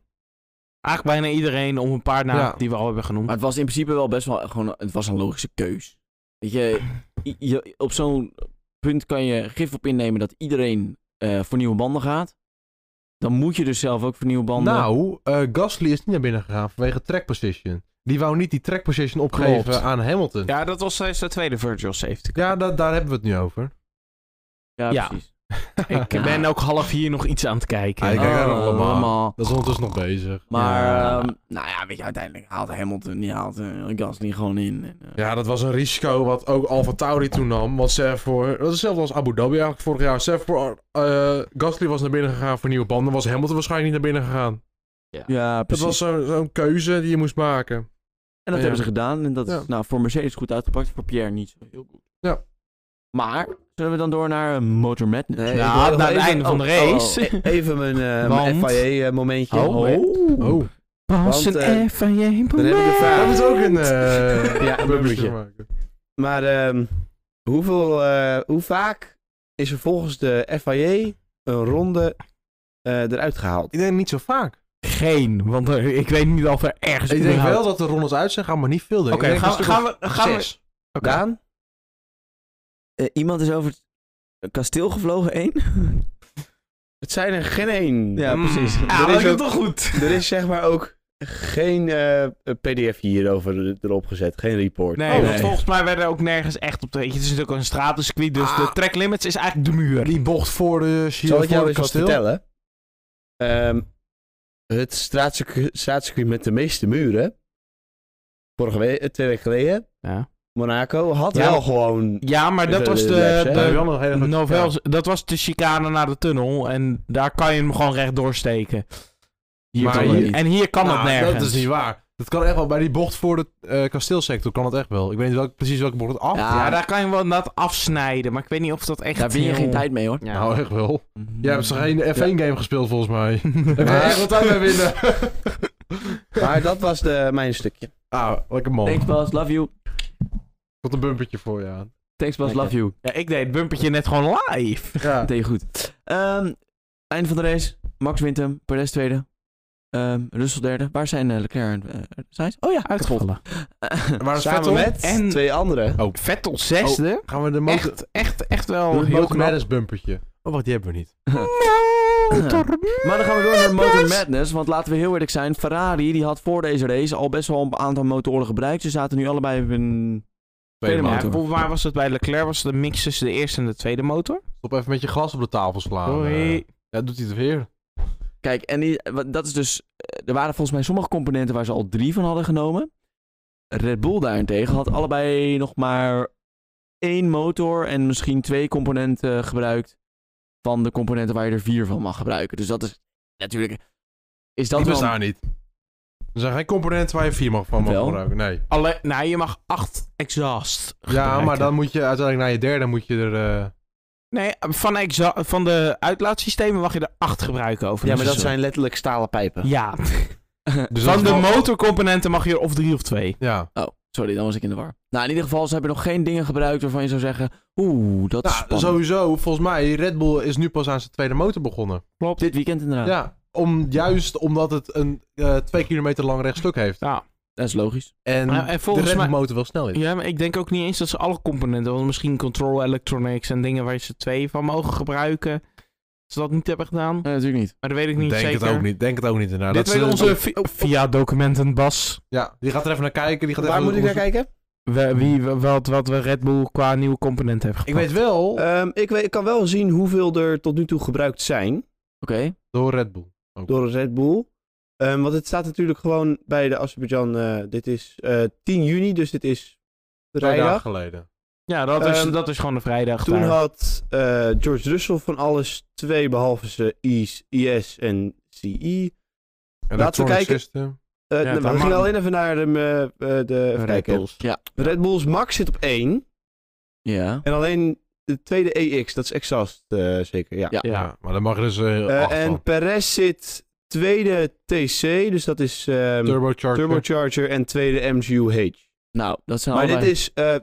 S3: Eigenlijk bijna iedereen om een paar namen
S2: Ja.
S3: die we al hebben genoemd.
S1: Maar het was in principe wel best wel gewoon, het was een logische keus. Weet je, i- je op zo'n punt kan je gif op innemen dat iedereen eh, voor nieuwe banden gaat. Dan moet je dus zelf ook voor nieuwe banden.
S2: Nou, eh, Gasly is niet naar binnen gegaan vanwege track position. Die wou niet die track position opgeven
S1: Klopt.
S2: aan Hamilton. Ja,
S3: Ja, dat was steeds de tweede virtual safety. car.
S2: da- daar hebben we het nu over.
S1: ja,
S3: ja.
S1: precies.
S3: Ik
S2: nou-
S3: ben ook half hier nog iets aan het kijken.
S2: Ah, ik kijk daar nog
S1: Oh,
S2: allemaal.
S1: allemaal.
S2: Dat is ondertussen nog bezig.
S1: Maar,
S3: Ja.
S1: ehm, nou ja, weet je, uiteindelijk haalt Hamilton, die haalt eh, Gasly gewoon in. En, eh,
S2: Ja, dat was een risico wat ook Alfa Tauri toen nam. Want ze voor, dat is hetzelfde als Abu Dhabi eigenlijk vorig jaar. Ze voor, eh, Gasly was naar binnen gegaan voor nieuwe banden. Was Hamilton waarschijnlijk niet naar binnen gegaan.
S1: ja,
S2: Dat
S1: precies.
S2: was zo'n zo'n keuze die je moest maken.
S1: En dat
S2: Ja.
S1: hebben ze gedaan. En dat
S2: Ja.
S1: is nou, voor Mercedes goed uitgepakt, voor Pierre niet zo heel goed.
S2: Ja.
S1: Maar, zullen we dan door naar eh, Motor Madness?
S4: Nee,
S3: Ja,
S4: ik wil nog
S3: na Nou, het
S4: even-
S3: einde van de race.
S4: oh, e- even mijn, eh mijn
S3: Want-
S4: FIA-momentje.
S2: Oh,
S3: Pas
S4: Want, eh,
S3: een F van je
S4: dan heb ik een vraag.
S2: dat is ook een... eh,
S4: Ja, een bumpertje.
S2: maken.
S4: Maar ehm, hoeveel, eh, hoe vaak is er volgens de FIA een ronde eh, eruit gehaald?
S2: Ik denk niet zo vaak.
S3: Geen, want eh, ik weet niet of er ergens...
S2: Ik denk
S3: überhaupt-
S2: wel dat de rondes uit zijn gaan, maar niet veel.
S3: Oké, gaan, we- gaan we... Gaan we Oké.
S4: Daan?
S1: Eh, iemand is over het kasteel gevlogen, één.
S4: Het zijn er geen één.
S1: Ja, precies.
S3: Ah, dat
S4: Er Mm. is
S3: is
S4: ook-
S3: toch goed.
S4: Er is zeg maar ook geen eh, pdf hierover eh, erop gezet. Geen report.
S3: Nee,
S1: Oh,
S3: want
S1: nee.
S3: volgens mij werden er ook nergens echt op de... weet je, Het is natuurlijk een stratencircuit, dus de track limits is eigenlijk de muur.
S2: Die bocht voor de Giro
S4: Zal ik jou
S2: voor het
S4: eens wat
S2: kasteel.
S4: vertellen? Ehm, het straatcircu- straatcircuit met de meeste muren. Vorige week, eh, twee weken geleden.
S3: Ja,
S4: Monaco had
S3: Ja,
S4: wel
S3: maar-
S4: gewoon.
S3: ja maar dat
S4: De-
S3: was
S4: de lijst,
S3: de...
S4: hè?
S2: Ja,
S3: de
S2: wel een hele grote-
S3: Novels, dat was de chicane naar de tunnel. En daar kan je hem gewoon recht doorsteken. Hier
S2: Maar
S3: kan
S2: hier-
S3: het niet. En hier kan
S2: Nou,
S3: het nergens.
S2: Dat is niet waar. Dat kan echt wel. Bij die bocht voor de eh, kasteelsector kan het echt wel. Ik weet niet welk, precies welke bocht het af.
S1: Ja,
S3: Ja, daar kan je wel dat afsnijden. Maar ik weet niet of dat echt...
S1: daar win je
S3: heel-
S1: geen tijd mee, hoor.
S3: Ja.
S2: Nou, echt wel. Jij hebt toch geen
S1: Ja.
S2: F1-game gespeeld, volgens mij. Daar kan je
S4: Maar-
S2: echt wat tijd mee winnen.
S4: Maar dat was de, mijn stukje.
S2: ah, lekker man.
S1: Thanks,
S2: Ik
S1: Bas. Love you.
S2: had een bumpertje voor je aan.
S1: Thanks, Bas. Love you.
S3: Ja, ik deed het bumpertje net gewoon live.
S2: Ja.
S1: Dat deed je goed. Ehm einde van de race. Max wint hem. Perez tweede. Ehm Russell derde. Waar zijn eh, Leclerc en eh, Sainz? Oh ja, uitgevallen.
S3: Uitgevallen.
S2: Maar
S4: Samen
S2: Vettel,
S4: met
S3: En-
S4: twee anderen.
S3: Vettel zesde.
S2: gaan we de motor...
S3: echt, echt, echt
S2: Oh,
S3: wel
S2: de
S3: heel
S2: motor
S3: knap.
S2: Madness bumpertje. Oh, wacht, die hebben we niet.
S1: Maar dan gaan we door naar Motor Madness. Want laten we heel eerlijk zijn. Ferrari die had voor deze race al best wel een aantal motoren gebruikt. Ze zaten nu allebei op een... Tweede
S3: Ja,
S1: motor.
S3: volgens mij was het bij Leclerc was de mix tussen de eerste en de tweede motor.
S2: Stop even met je glas op de tafel slaan.
S3: Doei.
S2: Eh, Ja, doet hij het weer.
S1: Kijk, en die, wat- dat is dus... eh, Er waren volgens mij sommige componenten waar ze al drie van hadden genomen. Red Bull daarentegen had allebei nog maar één motor en misschien twee componenten gebruikt. Van de componenten waar je er vier van mag gebruiken. Dus dat is natuurlijk... Is dat
S2: Dat
S1: wel...
S2: bestaat niet. Er zijn geen componenten waar je vier mag van mag
S1: Wel.
S2: gebruiken. Nee.
S3: Alleen, nou, je mag acht exhaust
S2: Ja,
S3: gebruiken.
S2: maar dan moet je uiteindelijk naar je derde moet je er... eh,
S3: Nee, van, exa- van de uitlaatsystemen mag je er acht gebruiken over.
S4: Ja,
S3: een
S4: maar dat
S3: seizoen.
S4: zijn letterlijk stalen pijpen.
S3: Ja,
S2: dus dat
S3: van
S2: is wel-
S3: de motorcomponenten mag je er of drie of twee.
S2: Ja.
S1: Oh, sorry, dan was ik in de war. Nou, in ieder geval, ze hebben nog geen dingen gebruikt waarvan je zou zeggen... Oeh, dat is
S2: Nou,
S1: spannend.
S2: sowieso, volgens mij, Red Bull is nu pas aan zijn tweede motor begonnen.
S1: Op dit weekend inderdaad.
S2: Ja, om, juist omdat het een eh, twee kilometer lang rechtstuk heeft.
S3: Ja.
S1: Dat is logisch.
S2: En,
S3: Nou, en volgens
S2: de Red Bull
S3: mij-
S2: motor wel snel is.
S3: ja, maar ik denk ook niet eens dat ze alle componenten, want misschien control electronics en dingen waar ze twee van mogen gebruiken, ze dat niet hebben gedaan.
S1: Nee, natuurlijk niet.
S3: Maar dat weet ik niet
S2: denk
S3: zeker.
S2: het ook niet. Denk het ook niet inderdaad.
S3: Dit
S2: Dat
S3: weten
S2: ze-
S3: onze vi- via documenten Bas.
S2: Ja, die gaat er even naar kijken. Die gaat
S4: Waar
S2: even
S4: moet ik naar kijken?
S3: We- wie,
S2: Hmm.
S3: wat, wat we Red Bull qua nieuwe componenten hebben
S2: Ik
S3: gepakt.
S2: weet wel
S4: Ehm, ik, weet, ik kan wel zien hoeveel er tot nu toe gebruikt zijn.
S1: Oké.
S2: door Red Bull.
S4: door Red Bull. Ehm, want het staat natuurlijk gewoon bij de Azerbeidzjan. eh, dit is eh, 10 juni, dus dit is
S2: Twee dagen
S4: vrijdag.
S2: geleden.
S3: Ja, dat is,
S4: Ehm,
S3: dat is gewoon een vrijdag
S4: Toen
S3: daar.
S4: had eh, George Russell van alles twee, behalve zijn IS, IS en CE.
S2: En
S4: Laten we kijken.
S2: System.
S4: Eh,
S3: Ja,
S4: nee, maar
S3: daar
S4: we gingen
S3: mag-
S4: alleen even naar de, eh, eh, de even
S3: Red
S4: kijken.
S3: Bulls.
S1: Ja.
S4: Red Bulls Max zit op 1.
S1: Ja.
S4: En alleen de tweede EX, dat is exhaust eh, zeker, ja.
S1: Ja.
S2: Ja.
S3: Ja.
S2: maar dan mag er dus eh
S4: Eh,
S2: acht
S4: en
S2: van.
S4: Perez zit tweede TC, dus dat is ehm,
S2: Turbocharger.
S4: turbocharger en tweede MGUH.
S1: Nou, dat zijn
S4: Maar dit
S1: allebei...
S4: is eh,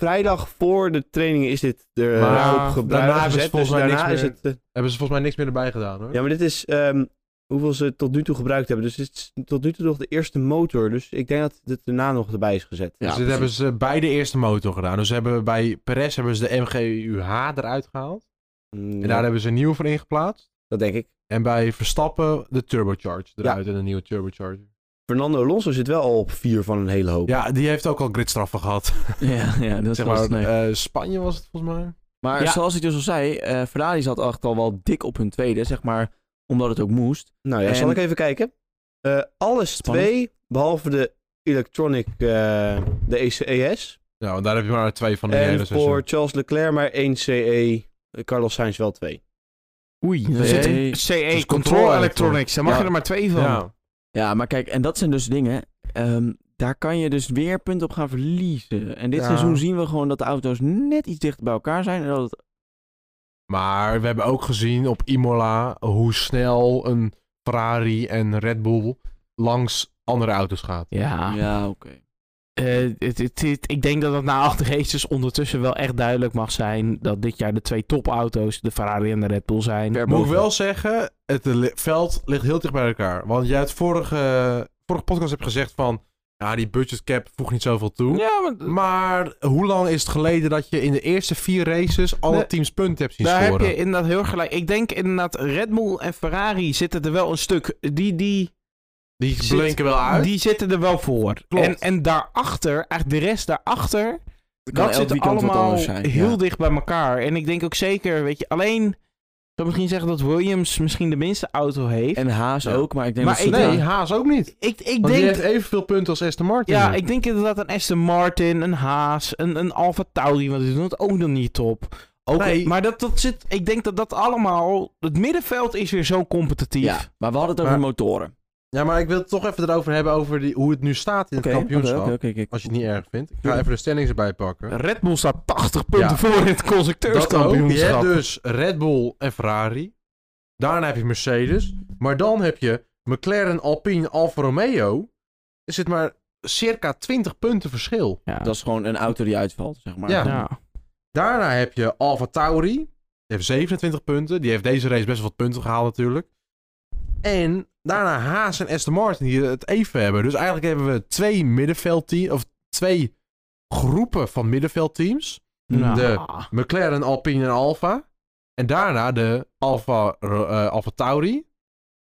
S4: vrijdag voor de trainingen is dit er eh,
S2: Maar
S4: op gebruikt.
S2: daarna hebben ze
S4: gezet,
S2: volgens
S4: dus
S2: mij
S4: daarna
S2: niks
S4: is
S2: meer.
S4: het. eh,
S2: Hebben ze volgens mij niks meer erbij gedaan hoor.
S4: ja, maar dit is ehm, hoeveel ze tot nu toe gebruikt hebben. Dus het is tot nu toe nog de eerste motor. Dus ik denk dat het daarna nog erbij is gezet.
S1: Ja,
S2: dus dit hebben ze bij de eerste motor gedaan. Dus ze hebben bij Perez hebben ze de MGUH eruit gehaald.
S4: Mm,
S2: En daar hebben ze een nieuwe van ingeplaatst.
S4: Dat denk ik.
S2: En bij Verstappen de turbocharge eruit en een nieuwe turbocharger.
S4: Fernando Alonso zit wel al op vier van een hele hoop.
S2: Ja, die heeft ook al gridstraffen gehad.
S1: Ja, ja dat
S2: zeg
S1: was
S2: maar,
S1: het. nee.
S2: eh, Spanje was het volgens mij.
S1: Maar
S3: Ja.
S1: zoals ik dus al zei, eh Ferrari zat echt al wel dik op hun tweede, zeg maar, omdat het ook moest.
S4: Nou ja,
S1: En-
S4: zal ik even kijken. Eh, alles
S1: Spannend.
S4: twee, behalve de Electronic, eh, de ECES.
S2: Ja, want daar heb je maar twee van de hele
S4: En
S2: seizoen.
S4: voor Charles Leclerc maar één CE. eh, Carlos Sainz wel twee.
S3: Oei, er
S1: Nee.
S3: zit een CE,
S2: Dus
S3: Control
S2: control
S3: Electronics. Daar mag
S1: Ja.
S3: je er maar twee van.
S2: Ja.
S1: Ja, maar kijk, en dat zijn dus dingen, ehm, daar kan je dus weer punten op gaan verliezen. En dit
S2: Ja.
S1: seizoen zien we gewoon dat de auto's net iets dichter bij elkaar zijn. En dat het,
S2: Maar we hebben ook gezien op Imola hoe snel een Ferrari en Red Bull langs andere auto's gaat.
S3: Ja.
S1: Ja, oké.
S3: Eh, het- het- het- ik denk dat het na acht races ondertussen wel echt duidelijk mag zijn dat dit jaar de twee topauto's, de Ferrari en de Red Bull, zijn.
S1: Ver
S2: Moet ik
S1: boven.
S2: wel zeggen, het li- veld ligt heel dicht bij elkaar. Want jij het vorige, vorige podcast hebt gezegd van... Ja, die budget cap voegt niet zoveel toe.
S3: Ja, want
S2: Maar hoe lang is het geleden dat je in de eerste vier races alle
S3: Nee,
S2: teams punten hebt zien
S3: daar heb
S2: scoren?
S3: je inderdaad heel gelijk. Ik denk inderdaad, Red Bull en Ferrari zitten er wel een stuk. Die, die,
S2: Die
S3: zit-
S2: blinken wel uit.
S3: die zitten er wel voor.
S2: Klopt.
S3: En, en daarachter, eigenlijk de rest daarachter,
S1: Er kan
S3: dat
S1: elk
S3: zit
S1: weekend wat
S3: allemaal
S1: anders zijn,
S3: heel
S1: ja.
S3: dicht bij elkaar. En ik denk ook zeker, weet je, alleen ik zou misschien zeggen dat Williams misschien de minste auto heeft.
S1: En Haas
S2: Ja.
S1: ook, maar ik denk
S3: Maar
S1: dat
S3: ik-
S1: ze
S2: Nee,
S1: daar-
S2: Haas ook niet.
S3: ik, ik
S2: Want die
S3: denk
S2: heeft evenveel punten als Aston Martin.
S3: Ja, ik denk inderdaad een Aston Martin, een Haas, een, een Alfa Tauri, want die doen het ook nog niet top. Ook,
S2: Nee.
S3: Maar dat, dat zit, ik denk dat dat allemaal, het middenveld is weer zo competitief.
S1: ja, maar we hadden het over
S2: Maar-
S1: motoren.
S2: Ja, maar ik wil het toch even erover hebben over die, hoe het nu staat in
S1: Oké,
S2: het
S1: oké,
S2: kampioenschap.
S1: oké, oké, oké.
S2: Als je het niet erg vindt. Ik ga even de stellings erbij pakken.
S3: Red Bull staat 80 punten
S2: Ja.
S3: voor in het
S2: Dat ook. Je
S3: constructeurskampioenschap.
S2: hebt dus Red Bull en Ferrari. Daarna heb je Mercedes. Maar dan heb je McLaren, Alpine, Alfa Romeo. Er zit maar circa 20 punten verschil.
S3: ja.
S1: Dat is gewoon een auto die uitvalt, zeg maar.
S2: Ja.
S3: Ja.
S2: Daarna heb je Alfa Tauri. Die heeft 27 punten. Die heeft deze race best wel wat punten gehaald natuurlijk. En daarna Haas en Aston Martin die het even hebben. Dus eigenlijk hebben we twee middenveldteams. Of twee groepen van middenveldteams.
S3: Nou.
S2: De- McLaren, Alpine en Alfa. En daarna de Alfa, eh, Alfa Tauri.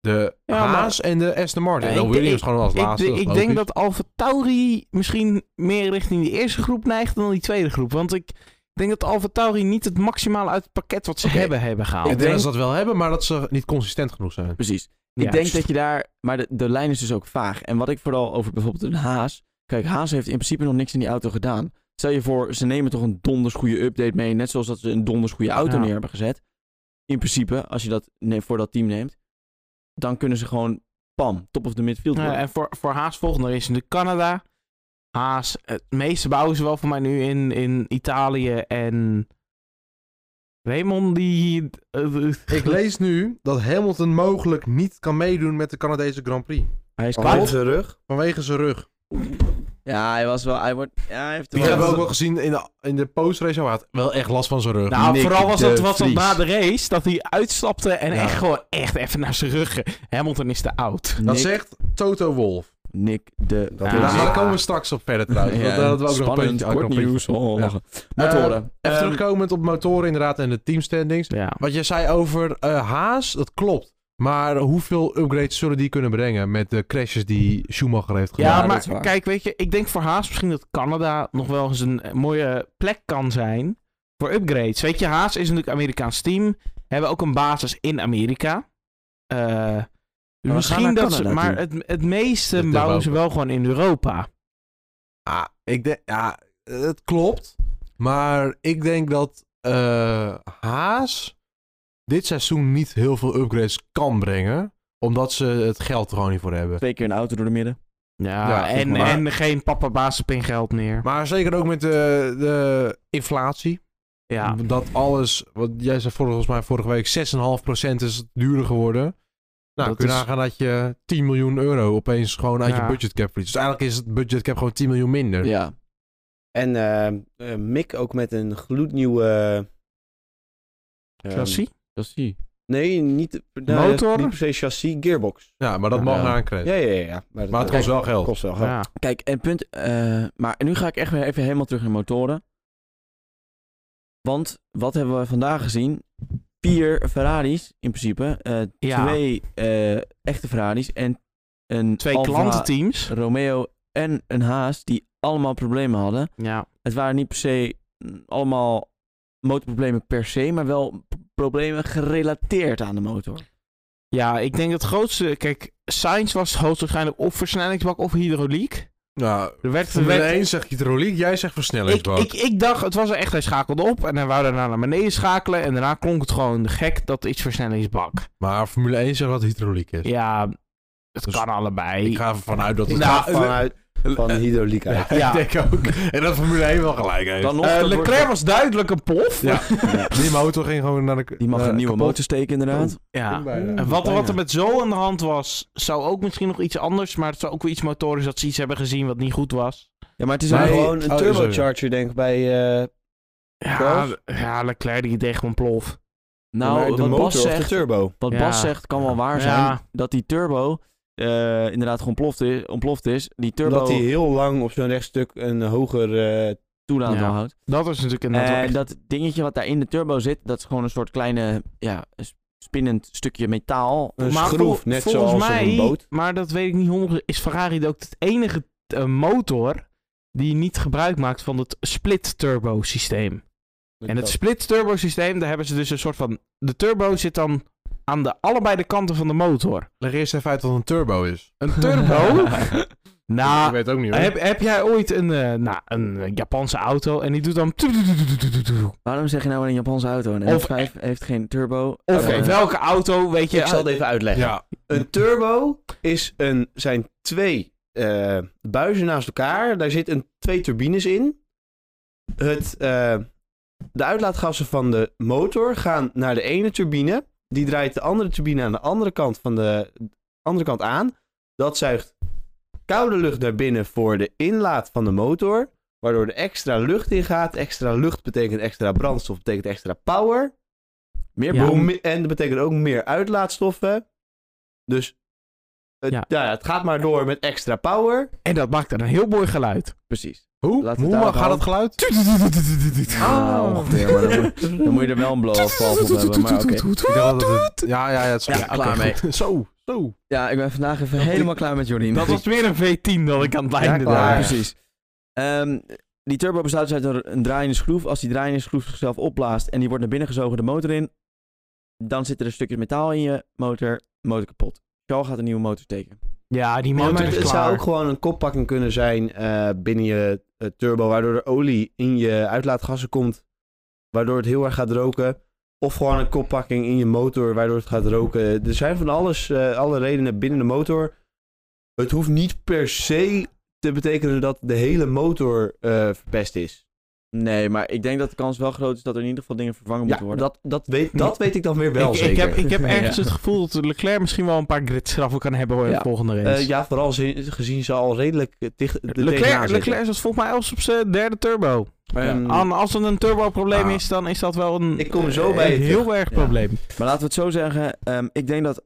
S2: De
S3: Ja, maar-
S2: Haas en de Aston Martin.
S3: Ja,
S2: en dan
S3: ik-
S2: Williams
S3: ik-
S2: gewoon als
S3: Ik,
S2: laatste.
S3: ik
S2: logisch.
S3: denk dat Alfa Tauri misschien meer richting die eerste groep neigt dan die tweede groep. Want ik denk dat Alfa Tauri niet het maximale uit het pakket wat ze
S1: Oké.
S3: hebben hebben gehaald.
S2: Ik denk
S1: denk-
S2: dat ze dat wel hebben, maar dat ze niet consistent genoeg zijn.
S1: Precies.
S3: Ja.
S1: Ik denk dat je daar. Maar de, de lijn is dus ook vaag. En wat ik vooral over bijvoorbeeld een Haas. Kijk, Haas heeft in principe nog niks in die auto gedaan. Stel je voor, ze nemen toch een donders goede update mee. Net zoals dat ze een donders goede auto
S3: Ja.
S1: neer hebben gezet. In principe, als je dat ne- voor dat team neemt. Dan kunnen ze gewoon, pam, top of the midfield
S3: Nou ja,
S1: worden.
S3: en voor, voor Haas volgende race natuurlijk Canada. Haas, het meeste bouwen ze wel voor mij nu in, in Italië en... Raymond die... eh,
S2: Ik lees nu dat Hamilton mogelijk niet kan meedoen met de Canadese Grand Prix.
S1: Hij is
S4: Op
S1: kwaad.
S4: zijn rug.
S2: Vanwege zijn rug.
S1: Ja, hij was wel. Hij wordt. Ja, hij heeft
S2: Die
S1: er wel-
S2: hebben we ook wel gezien in de, in de postrace. Hij had wel echt last van zijn rug.
S3: nou,
S1: Nick
S3: vooral was
S1: de
S3: dat, was dat
S1: Vries.
S3: na de race, dat hij uitstapte en
S2: Ja.
S3: echt gewoon echt even naar zijn rug. Hamilton is te oud.
S2: dat
S1: Nick,
S2: zegt Toto Wolf.
S1: Nick de.
S4: Dat
S3: Ja.
S2: Nou,
S1: Vries.
S2: daar komen we straks op verder trouwens.
S1: Ja,
S2: want daar hadden we ook nog een
S1: spannend,
S2: puntje aan
S1: kort
S2: kan pikken.
S1: nieuws. Oh,
S2: Ja.
S1: lachen. Motoren. Ehm,
S2: Even terugkomend op motoren inderdaad en de teamstandings.
S3: Ja.
S2: Wat je zei over eh, Haas, dat klopt. Maar hoeveel upgrades zullen die kunnen brengen met de crashes die Schumacher heeft gedaan?
S3: Ja,
S1: Ja, dat is
S3: maar
S1: waar.
S3: kijk, weet je, ik denk voor Haas misschien dat Canada nog wel eens een eh, mooie plek kan zijn voor upgrades. Weet je, Haas is natuurlijk een Amerikaans team, hebben ook een basis in Amerika. Eh,
S1: we gaan
S3: misschien
S1: naar
S3: dat ze,
S1: Canada
S3: maar
S1: toe.
S3: het, het meeste
S2: Dat is
S3: bouwen ze
S2: Europa.
S3: wel gewoon in Europa.
S2: Ah, ik denk, ja, het klopt. Maar ik denk dat eh, Haas dit seizoen niet heel veel upgrades kan brengen. Omdat ze het geld er gewoon niet voor hebben.
S1: Twee keer een auto door de midden.
S3: Ja,
S2: Ja,
S3: en,
S2: maar-
S3: en geen papa bazenpin geld meer.
S2: Maar zeker ook met de, de inflatie.
S3: Ja,
S2: Dat alles, wat jij zei volgens mij vorige week, 6,5% is duurder geworden. Nou,
S3: Dat
S2: kun je
S3: is-
S2: nagaan dat je 10 miljoen euro opeens gewoon uit
S3: Ja.
S2: je budgetcap verliest. Dus eigenlijk is het budgetcap gewoon 10 miljoen minder.
S1: Ja.
S4: En eh, eh, Mick ook met een gloednieuwe... eh,
S3: Chelsea?
S1: Dat zie je.
S4: Nee, niet, nou,
S3: Motor?
S4: niet per se chassis, gearbox.
S2: Ja, maar dat
S3: Ja.
S2: mag naar een credit.
S4: Ja, ja, ja. ja. Maar,
S2: Maar het kost wel geld.
S4: kost wel geld.
S3: Ja.
S1: Kijk, en punt. eh, maar nu ga ik echt weer even helemaal terug naar motoren. Want wat hebben we vandaag gezien? Vier Ferraris in principe. eh,
S3: Ja.
S1: Twee eh, echte Ferraris en een
S3: Twee
S1: Alfa
S3: klantenteams.
S1: Romeo en een Haas die allemaal problemen hadden.
S3: Ja.
S1: Het waren niet per se mm, allemaal motorproblemen per se, maar wel p- problemen gerelateerd aan de motor.
S3: ja, ik denk het grootste... Kijk, Sainz was hoogstwaarschijnlijk of versnellingsbak of hydrauliek.
S2: Nou,
S3: Er werd, er
S2: Formule
S3: werd,
S2: 1 zegt hydrauliek, jij zegt
S3: ik,
S2: versnellingsboot.
S3: ik, ik dacht, het was er echt, hij schakelde op en hij wou daarna naar beneden schakelen. En daarna klonk het gewoon gek dat iets versnellingsbak.
S2: Maar Formule 1 zegt dat het hydrauliek is.
S3: Ja, het
S2: Dus
S3: kan allebei.
S2: Ik ga ervan uit dat het...
S4: Ik eh,
S3: Nou,
S4: ga vanuit van hydrauliek uit.
S2: Ja,
S3: Ja.
S2: ik denk ook. En dat Formule 1 wel gelijk heeft.
S1: Dan nog,
S3: Eh,
S1: dat wordt-
S3: Leclerc was duidelijk een pof.
S2: Ja. Die motor ging gewoon naar de...
S1: die mag
S2: naar-
S1: een nieuwe
S2: kapot.
S1: motor steken inderdaad.
S3: Ja.
S2: Bijna.
S3: En wat, wat
S2: Bijna.
S3: er met zo aan de hand was, zou ook misschien nog iets anders, maar het zou ook wel iets motorisch dat ze iets hebben gezien wat niet goed was.
S1: Ja, maar het is
S2: Maar
S4: Maar
S1: eigenlijk-
S4: gewoon een
S2: oh, sorry.
S4: turbocharger, denk ik, bij... eh,
S3: Ja,
S4: Charles?
S3: ja Leclerc die deed gewoon plof.
S1: Nou,
S4: maar de
S1: wat
S4: motor
S1: Bas
S4: of
S1: zegt,
S4: de turbo.
S1: Wat
S3: Ja.
S1: Bas zegt kan wel waar
S3: Ja.
S1: zijn. Dat die turbo eh, inderdaad gewoon ploft is, ontploft is. Die turbo
S4: Omdat hij heel lang op zo'n rechtstuk een hoger... eh,
S1: toelaat
S3: Ja.
S1: wel houdt.
S3: Dat was natuurlijk inderdaad wel
S1: En
S3: echt-
S1: dat dingetje wat daar in de turbo zit, dat is gewoon een soort kleine ja, s- spinnend stukje metaal.
S4: een
S3: Maar
S4: schroef,
S3: vol-
S4: net
S3: volgens
S4: zoals op
S3: mij,
S4: een boot.
S3: Maar dat weet ik niet 100%. Is Ferrari ook het enige eh, motor die niet gebruik maakt van het split turbo systeem? En het split turbo systeem, daar hebben ze dus een soort van. De turbo zit dan aan de allebei de kanten van de motor.
S2: Leg eerst even uit wat een turbo is.
S3: Een turbo.
S2: ik
S3: nou,
S2: weet het ook niet hoor.
S3: heb, heb jij ooit een, eh, nou, een eh, Japanse auto en die doet dan.
S1: Waarom zeg je nou een Japanse auto? Een
S3: Of-
S1: F5 heeft geen turbo.
S3: Of
S1: Eh,
S3: welke auto, weet je.
S4: Ik zal het even uitleggen.
S2: Ja,
S4: Een turbo is een, zijn twee eh, buizen naast elkaar. Daar zitten twee turbines in. Het, eh, de uitlaatgassen van de motor gaan naar de ene turbine. Die draait de andere turbine aan de andere kant, van de, andere kant aan. Dat zuigt koude lucht naar binnen voor de inlaat van de motor. Waardoor er extra lucht in gaat. Extra lucht betekent extra brandstof, betekent extra power.
S1: meer
S3: Ja.
S1: boom.
S4: Hoe mi- En dat betekent ook meer uitlaatstoffen. Dus het,
S3: Ja.
S4: ja. het gaat maar door met extra power.
S3: En dat maakt dan een heel mooi geluid.
S1: Precies.
S2: hoe?
S1: Laat het
S2: Hoe
S1: daarop
S2: mag- gaat
S1: houden.
S2: het geluid?
S1: Ah, ongeveer. Maar dan, moet, dan moet je er wel een blow-off op hebben. Maar oké.
S2: Ik dacht dat het- Ja, ja, ja. Het is
S1: Ja,
S2: oké,
S1: klaar mee.
S2: goed. Zo, zo.
S1: Ja, ik ben vandaag even helemaal klaar met Jorien.
S3: Dat was weer een V10 dat ik aan het einde
S4: klaar.
S1: Ja,
S3: daar.
S1: precies. Ehm, die turbo bestaat dus uit een, een draaiende schroef. Als die draaiende schroef zichzelf opblaast en die wordt naar binnen gezogen de motor in, dan zitten er stukjes metaal in je motor, motor kapot. Charles gaat een nieuwe motor steken.
S3: Ja, die motor
S4: maar
S3: is
S4: het, het
S3: klaar.
S4: zou ook gewoon een koppakking kunnen zijn eh, binnen je eh, turbo, waardoor er olie in je uitlaatgassen komt, waardoor het heel erg gaat roken. Of gewoon een koppakking in je motor, waardoor het gaat roken. Er zijn van alles, eh, alle redenen binnen de motor. Het hoeft niet per se te betekenen dat de hele motor eh, verpest is.
S1: Nee, maar ik denk dat de kans wel groot is dat er in ieder geval dingen vervangen
S4: Ja,
S1: moeten worden.
S4: dat, dat, weet, dat weet ik dan weer wel
S3: Ik,
S4: zeker.
S3: ik, heb, ik heb
S1: Ja.
S3: ergens het gevoel dat Leclerc misschien wel een paar gridstraffen kan hebben voor de
S4: Ja.
S3: volgende
S4: Eh,
S3: race.
S4: ja, vooral zi- gezien ze al redelijk eh, dicht de
S3: Leclerc, Leclerc zat volgens mij als op zijn derde turbo.
S1: Ehm,
S3: An- als het een turbo-probleem
S2: Ah.
S3: is, dan is dat wel een,
S4: Mm. Ik kom zo
S3: eh,
S4: bij je
S3: heel erg
S1: Ja.
S3: probleem.
S1: Maar laten we het zo zeggen. ehm, ik denk dat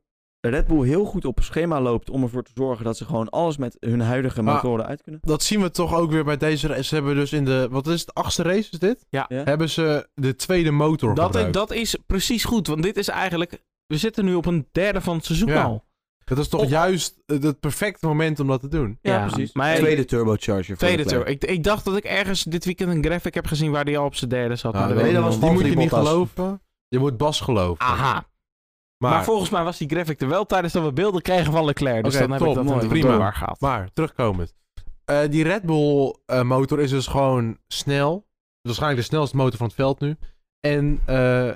S1: Red Bull heel goed op schema loopt om ervoor te zorgen dat ze gewoon alles met hun huidige
S2: Maar-
S1: motoren uit kunnen.
S2: Dat zien we toch ook weer bij deze race. Ze hebben dus in de, wat is het, achtste race is dit?
S3: Ja.
S1: Ja.
S2: Hebben ze de tweede motor
S3: Dat, is-
S2: gebruikt.
S3: dat is precies goed, want dit is eigenlijk... We zitten nu op een derde van het seizoen
S2: Ja.
S3: al.
S2: Dat is toch
S3: Oh.
S2: juist eh, het perfecte moment om dat te doen.
S1: Ja, precies.
S3: Maar tweede,
S4: Tweede turbocharger. voor Leclerc.
S3: turbo. Ik, ik dacht dat ik ergens dit weekend een graphic heb gezien waar die al op zijn derde zat. maar
S2: Nou,
S3: Ah, dat
S4: nee,
S3: weet ik
S4: dat
S3: niet.
S4: was
S2: die moet je
S4: Valtteri
S2: niet
S4: Bottas.
S2: geloven. Je moet Bas geloven.
S3: Aha.
S2: Maar,
S3: Maar, volgens mij was die graphic er wel tijdens dat we beelden kregen van Leclerc. Dus
S2: Oké,
S3: dan heb
S2: top,
S3: ik dat
S2: mooi,
S3: natuurlijk
S2: prima.
S3: door gehad.
S2: maar terugkomend. Eh, die Red Bull eh, motor is dus gewoon snel. Waarschijnlijk de snelste motor van het veld nu. En eh,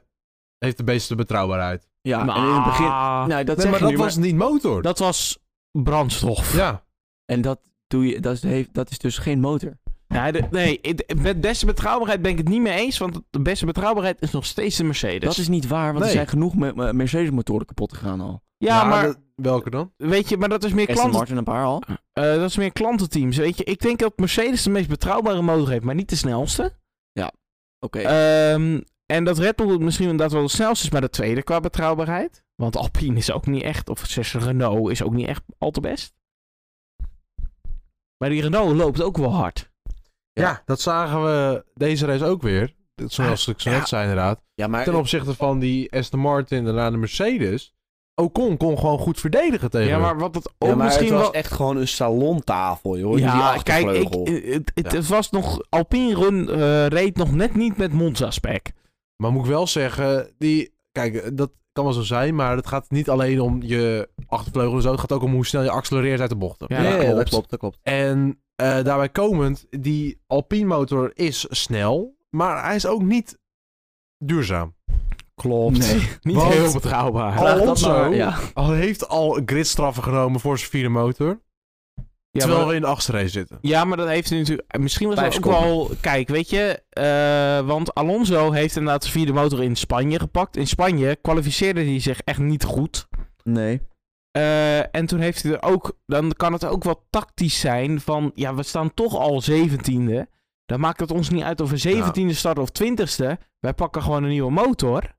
S2: heeft de beste betrouwbaarheid.
S1: Ja, en in het begin.
S3: Ah.
S1: Nou, dat
S2: nee,
S1: zeg
S2: maar
S1: je
S2: dat
S1: nu,
S2: was niet motor.
S3: Dat was brandstof.
S2: Ja.
S1: En dat, doe je, dat, is, heeft- dat is dus geen motor.
S3: Nee, de- nee, ik- met beste betrouwbaarheid ben ik het niet mee eens. Want de beste betrouwbaarheid is nog steeds de Mercedes.
S1: Dat is niet waar, want
S2: Nee.
S1: er zijn genoeg me- me- Mercedes-motoren kapot gegaan al.
S3: ja,
S2: Nou,
S3: maar
S2: dat- welke dan?
S3: weet je, maar dat is meer
S1: Aston
S3: klanten.
S1: Martin een paar al.
S3: eh, dat is meer klantenteams. Weet je, ik denk dat Mercedes de meest betrouwbare motor heeft, maar niet de snelste.
S1: Oké.
S3: Ehm, En dat Red Bull misschien inderdaad wel het snelste is, maar de tweede qua betrouwbaarheid. Want Alpine is ook niet echt, of zes Renault is ook niet echt al te best. Maar die Renault loopt ook wel hard.
S2: Ja. dat zagen we deze race ook weer. Dat- Zoals ik zo net
S4: ja.
S2: zei inderdaad.
S4: Ja, maar
S2: Ten opzichte van die Aston Martin en daarna de Mercedes. Ocon kon gewoon goed verdedigen tegen
S3: Ja,
S2: hun.
S3: maar wat dat ook
S4: Ja, maar
S3: misschien
S4: het was
S3: wel...
S4: echt gewoon een salontafel, joh.
S3: ja,
S4: die
S3: kijk, ik,
S4: achtervleugel.
S3: het, het-
S4: Ja.
S3: het was nog... Alpine run, eh, reed nog net niet met Monza-spec.
S2: Maar moet ik wel zeggen, die, kijk, dat kan wel zo zijn, maar het gaat niet alleen om je achtervleugel en zo. Het gaat ook om hoe snel je accelereert uit de bochten.
S3: Ja, dat klopt.
S4: dat klopt.
S2: En eh, daarbij komend, die Alpine motor is snel, maar hij is ook niet duurzaam.
S3: Klopt. niet
S2: Want-
S3: heel betrouwbaar.
S2: Al-
S1: Vraag dat
S2: Alonso.
S1: maar- ja.
S2: Al heeft al gridstraffen genomen voor zijn vierde motor,
S3: Ja,
S2: terwijl
S3: maar,
S2: we in de achtste race zitten.
S3: ja, maar dat heeft hij natuurlijk... Misschien was
S4: Vijf
S3: dat ook wel... Kijk, weet je... eh, want Alonso heeft inderdaad de vierde motor in Spanje gepakt. In Spanje kwalificeerde hij zich echt niet goed.
S1: Nee.
S3: Eh, en toen heeft hij er ook, dan kan het ook wel tactisch zijn van, ja, we staan toch al zeventiende. Dan maakt het ons niet uit of we zeventiende starten of twintigste. Wij pakken gewoon een nieuwe motor.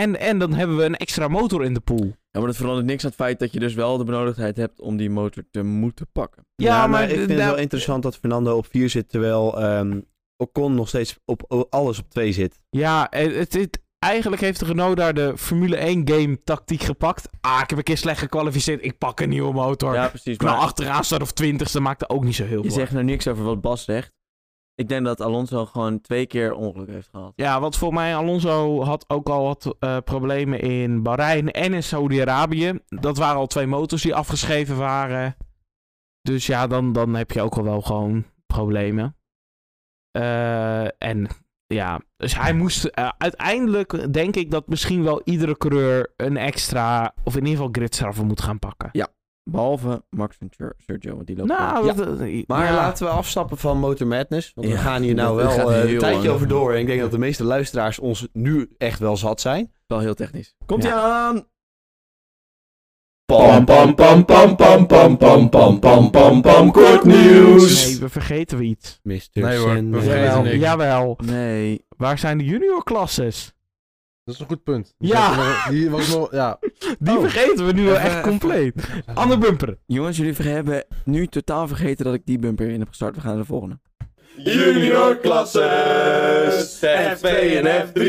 S3: En, en dan hebben we een extra motor in de pool.
S1: Ja, maar dat verandert niks aan het feit dat je dus wel de benodigdheid hebt om die motor te moeten pakken.
S4: Ja, maar, ik
S3: d-
S4: vind het
S3: daar-
S4: wel interessant dat Fernando op 4 zit, terwijl ehm, Ocon nog steeds op o- alles op 2 zit.
S3: Ja, eh, het, het, eigenlijk heeft de Renault daar de Formule 1 game tactiek gepakt. Ah, ik heb een keer slecht gekwalificeerd. Ik pak een nieuwe motor.
S1: Ja, precies.
S3: nou,
S1: Maar
S3: achteraan start of twintigste maakt er ook niet zo heel
S1: je
S3: veel. uit.
S1: zegt nou niks over wat Bas zegt. Ik denk dat Alonso gewoon twee keer ongeluk heeft gehad.
S3: Ja, want voor mij, Alonso had ook al wat eh, problemen in Bahrein en in Saudi-Arabië. Dat waren al twee motors die afgeschreven waren. Dus ja, dan, dan heb je ook al wel gewoon problemen. Eh, en ja, dus hij moest eh, uiteindelijk, denk ik, dat misschien wel iedere coureur een extra, of in ieder geval gridstraffen moet gaan pakken.
S1: Behalve Max en Ser- Sergio, want die loopt
S3: Nou,
S4: Ja.
S3: dat- eh,
S4: Maar
S3: ja.
S4: laten we afstappen van Motor Madness, want we
S1: Ja,
S4: gaan hier nou
S1: dat- dat
S4: wel
S1: gaat
S4: eh, een
S1: heel
S4: tijdje
S1: lang.
S4: over door. En ik denk dat de meeste luisteraars ons nu echt wel zat zijn.
S1: wel heel technisch. Komt
S3: Ja.
S1: ie aan!
S5: Pam pam pam pam pam pam pam pam pam pam pam kort nieuws.
S3: Nee, we vergeten we iets.
S4: Mr.
S2: Nee hoor, we
S4: Sandman.
S2: vergeten
S3: Jawel,
S2: niks.
S3: jawel.
S1: Nee.
S3: Waar zijn de junior classes?
S2: Dat is een goed punt.
S3: Ja.
S2: Die was nog, ja.
S3: Die
S2: Oh.
S3: vergeten we nu wel
S2: Even-
S3: echt
S2: even-
S3: compleet. Ander bumper.
S1: Jongens, jullie ver- hebben nu totaal vergeten dat ik die bumper in heb gestart. We gaan naar de volgende.
S5: Junior klasses. F2 en F3.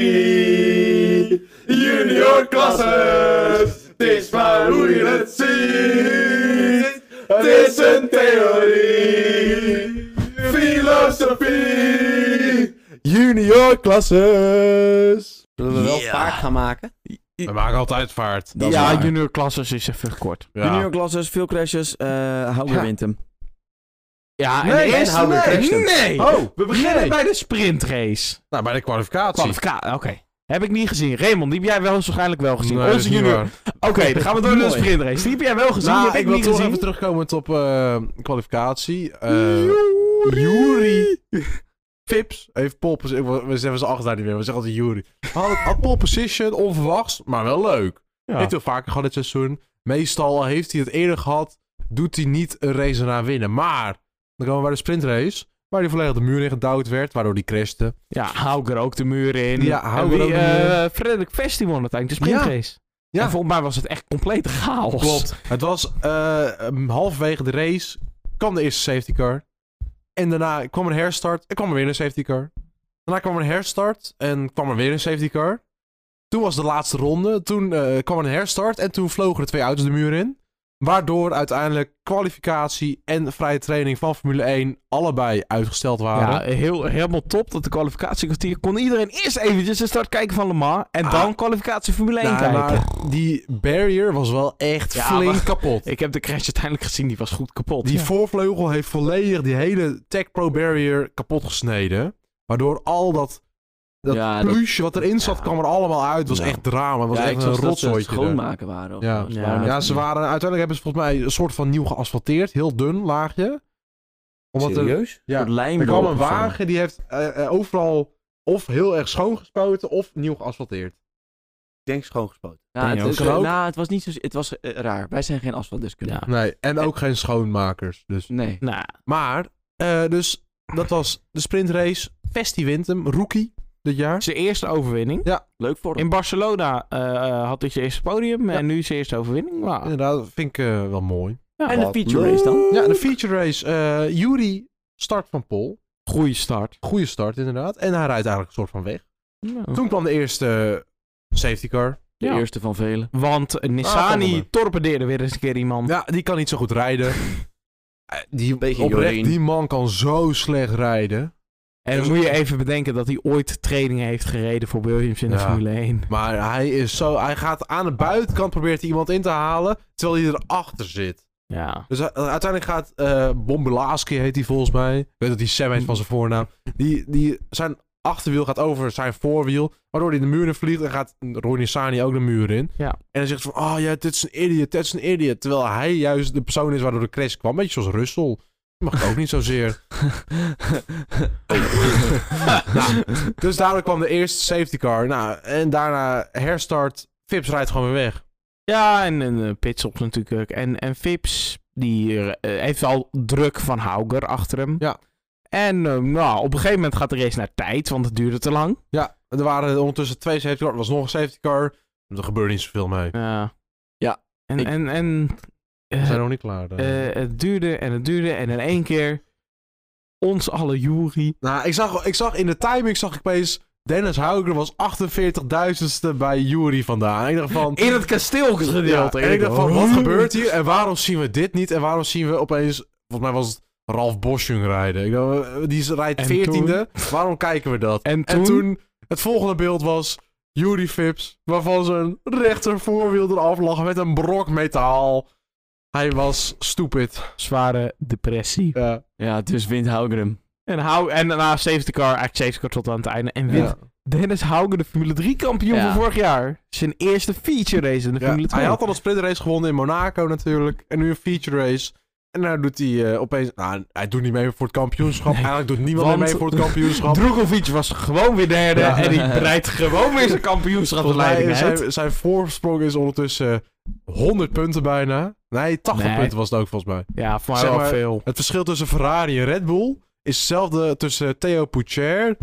S5: Junior klasses. Het is maar hoe je het ziet. Het is een theorie. Filosofie.
S2: Junior klasses!
S4: Zullen we wel
S1: Ja.
S4: vaak gaan maken?
S2: We maken altijd vaart.
S1: Dat is
S3: ja,
S1: waar.
S3: junior classes is even kort.
S2: Ja.
S1: Junior classes, veel crashes. eh Houder
S2: Ja.
S1: wint hem.
S3: Ja, en
S2: Nee,
S3: de
S2: en
S3: eerste
S2: Houder
S3: nee.
S2: Christen.
S3: nee.
S2: Oh,
S3: we beginnen
S2: nee.
S3: bij de sprintrace.
S2: Nou, bij de kwalificatie.
S3: Kwalificatie, oké. Heb ik niet gezien. Raymond, die heb jij wel waarschijnlijk wel gezien.
S2: Nee, dat is
S3: Onze
S2: niet
S3: junior.
S2: waar.
S3: Oké, dan gaan we door naar de
S1: Mooi.
S3: sprintrace. Die heb jij wel gezien. die
S2: Nou,
S3: heb
S2: ik
S3: ik,
S2: wil
S3: niet
S2: toch
S3: gezien.
S2: even terugkomen op eh, kwalificatie. Eh
S3: Joeri.
S2: Jury. Fips heeft pole position. We we zeggen ze achter daar niet meer. We zeggen altijd Jury. Had, had pole position, onverwachts, maar wel leuk.
S3: Ja.
S2: Heeft hij wel vaker gehad dit seizoen. Meestal heeft hij het eerder gehad. Doet hij niet een race eraan winnen. Maar, dan komen we bij de sprintrace. Waar hij volledig de muur in gedouwd werd. Waardoor hij crashte.
S3: Ja, Hauger ook de muur in.
S2: Ja,
S3: En
S2: Hauger
S3: wie,
S2: ook de muur.
S3: eh, Frederik Vesti won uiteindelijk de sprintrace.
S2: Ja.
S3: En volgens mij was het echt complete chaos.
S2: Klopt. Het was eh, um, halverwege de race. kwam de eerste safety car. En daarna kwam een herstart. En kwam er weer een safety car. Daarna kwam een herstart. En kwam er weer een safety car. Toen was de laatste ronde. Toen eh, kwam een herstart. En toen vlogen de twee auto's de muur in. Waardoor uiteindelijk kwalificatie en vrije training van Formule 1 allebei uitgesteld waren.
S3: Ja, heel, helemaal top dat de kwalificatiekwartier kon iedereen eerst eventjes de start kijken van Le Mans en
S2: Ah.
S3: dan kwalificatie Formule 1
S2: Nou,
S3: kijken.
S2: maar die barrier was wel echt
S3: Ja,
S2: flink
S3: maar-
S2: kapot.
S3: Ik heb de crash uiteindelijk gezien, die was goed kapot.
S2: Die
S3: Ja.
S2: voorvleugel heeft volledig die hele Tech Pro Barrier kapot gesneden. Waardoor al dat, dat
S1: Ja, dat-
S2: pluche wat erin zat,
S1: ja. kwam
S2: kwam er allemaal uit. Het was
S1: Ja.
S2: echt drama. Het was
S1: ja, ik
S2: echt een
S1: zag dat ze het
S2: rotzooitje. daar.
S1: schoonmaken waren. of
S2: Ja.
S1: zo. Ze
S3: Ja.
S1: waren met-
S2: Ja, ze waren, uiteindelijk hebben ze volgens mij een soort van nieuw geasfalteerd. Heel dun laagje. Omdat er,
S4: Serieus?
S2: ja,
S1: Een soort lijm
S2: er kwam een
S1: erop of zo.
S2: wagen die heeft eh, eh, overal of heel erg schoongespoten of nieuw geasfalteerd.
S4: Ik denk schoongespoten.
S1: Ja, het,
S3: Kan
S1: het-
S2: ook. Kan ook.
S1: nou, het was niet zo... Het was eh, raar. Wij zijn geen asfaltdeskundigen.
S3: Ja.
S2: Nee, en ook geen schoonmakers. Dus.
S1: Nee.
S3: Nou,
S2: Maar, eh, dus dat was de sprintrace. Vesti wint hem, rookie. dit jaar.
S3: Zijn eerste overwinning.
S1: Leuk voor hem.
S3: In Barcelona eh, eh, had hij zijn eerste podium en nu zijn eerste overwinning.
S4: Ah.
S3: Nou,
S2: Inderdaad, dat vind ik eh, wel mooi.
S1: En de
S4: Wat
S1: feature race dan?
S2: Ja, de feature race. eh Yuri start van Pol.
S3: Goeie start.
S2: Goede start inderdaad. En hij rijdt eigenlijk een soort van weg. Toen kwam de eerste eh, safety car.
S1: De
S3: Ja.
S1: eerste van velen.
S3: Want Nissani
S2: Ah, volgende.
S3: torpedeerde weer eens een keer iemand.
S2: Ja, die kan niet zo goed rijden. Eh, Die,
S4: Beetje
S2: oprecht,
S4: Jorien.
S2: die man kan zo slecht rijden.
S3: En dan moet je even bedenken dat hij ooit training heeft gereden voor Williams in de
S2: Ja.
S3: Formule 1.
S2: Maar hij, is zo, hij gaat aan de buitenkant, probeert hij iemand in te halen, terwijl hij erachter zit.
S3: Ja.
S2: Dus u- uiteindelijk gaat eh Bombelaski, heet hij volgens mij. Ik weet dat hij Sam heet van zijn voornaam. Die, die, zijn achterwiel gaat over zijn voorwiel, waardoor hij de muur in vliegt en gaat Ronnie Sani ook de muur in.
S3: Ja.
S2: En dan zegt ze van, oh ja, dit is een idiot, dit is een idiot. Terwijl hij juist de persoon is waardoor de crash kwam. Beetje zoals Russell. Die mag ik ook niet zozeer. Nou, dus daardoor kwam de eerste safety car. Nou, en daarna herstart. Vips rijdt gewoon weer weg.
S3: Ja, en, en eh, Pitstop natuurlijk. ook. En, en Vips, die eh, heeft al druk van Hauger achter hem.
S2: Ja.
S3: En eh, nou, op een gegeven moment gaat de race naar tijd, want het duurde te lang.
S2: Ja, er waren ondertussen twee safety cars. Er was nog een safety car. Er gebeurde niet zoveel mee.
S3: Ja.
S1: Ja,
S3: En,
S1: ik-
S3: en, en
S2: We
S3: eh,
S2: zijn nog niet klaar. dan.
S3: eh, het duurde en het duurde. En in één keer, ons alle Jury.
S2: Nou, ik zag, ik zag in de timing zag ik opeens... Dennis Hauger was 48.000ste bij Jury vandaan. En ik dacht van...
S3: In het kasteelgedeelte.
S2: Ja, en ik dacht van, wat gebeurt hier? En waarom zien we dit niet? En waarom zien we opeens... Volgens mij was het Ralf Boschung rijden. Ik dacht, eh, die rijdt
S3: En
S2: 14e. Waarom kijken we dat?
S3: En toen,
S2: En toen, het volgende beeld was Jury Vips, waarvan zijn rechter voorwiel eraf lag met een brok metaal. Hij was stupid.
S3: zware depressie.
S2: Ja.
S1: Ja, dus wint Haugerum.
S3: En, hou, en daarna safety car, eigenlijk safety car tot aan het einde. En wint
S2: Ja.
S3: Dennis Hauger, de Formule 3 kampioen
S1: Ja.
S3: van vorig jaar. Zijn eerste feature race in de
S2: Ja,
S3: Formule 2.
S2: Hij had al een sprintrace gewonnen in Monaco natuurlijk. En nu een feature race. En nou doet hij eh, opeens... Nou, hij doet niet mee voor het kampioenschap.
S3: Nee.
S2: Eigenlijk doet niemand
S3: Want-
S2: meer mee voor het kampioenschap.
S3: Drogovic was gewoon weer derde.
S2: Ja.
S3: En die breidt gewoon weer zijn kampioenschap de
S2: Volgens mij
S3: leiding
S2: is
S3: uit.
S2: zijn, zijn voorsprong is ondertussen 100 punten bijna. Nee, 80
S3: Nee.
S2: punten was het ook volgens mij.
S3: Ja, voor mij
S2: Zeg
S3: wel
S2: maar-
S3: veel.
S2: Het verschil tussen Ferrari en Red Bull is hetzelfde tussen Theo Poucher.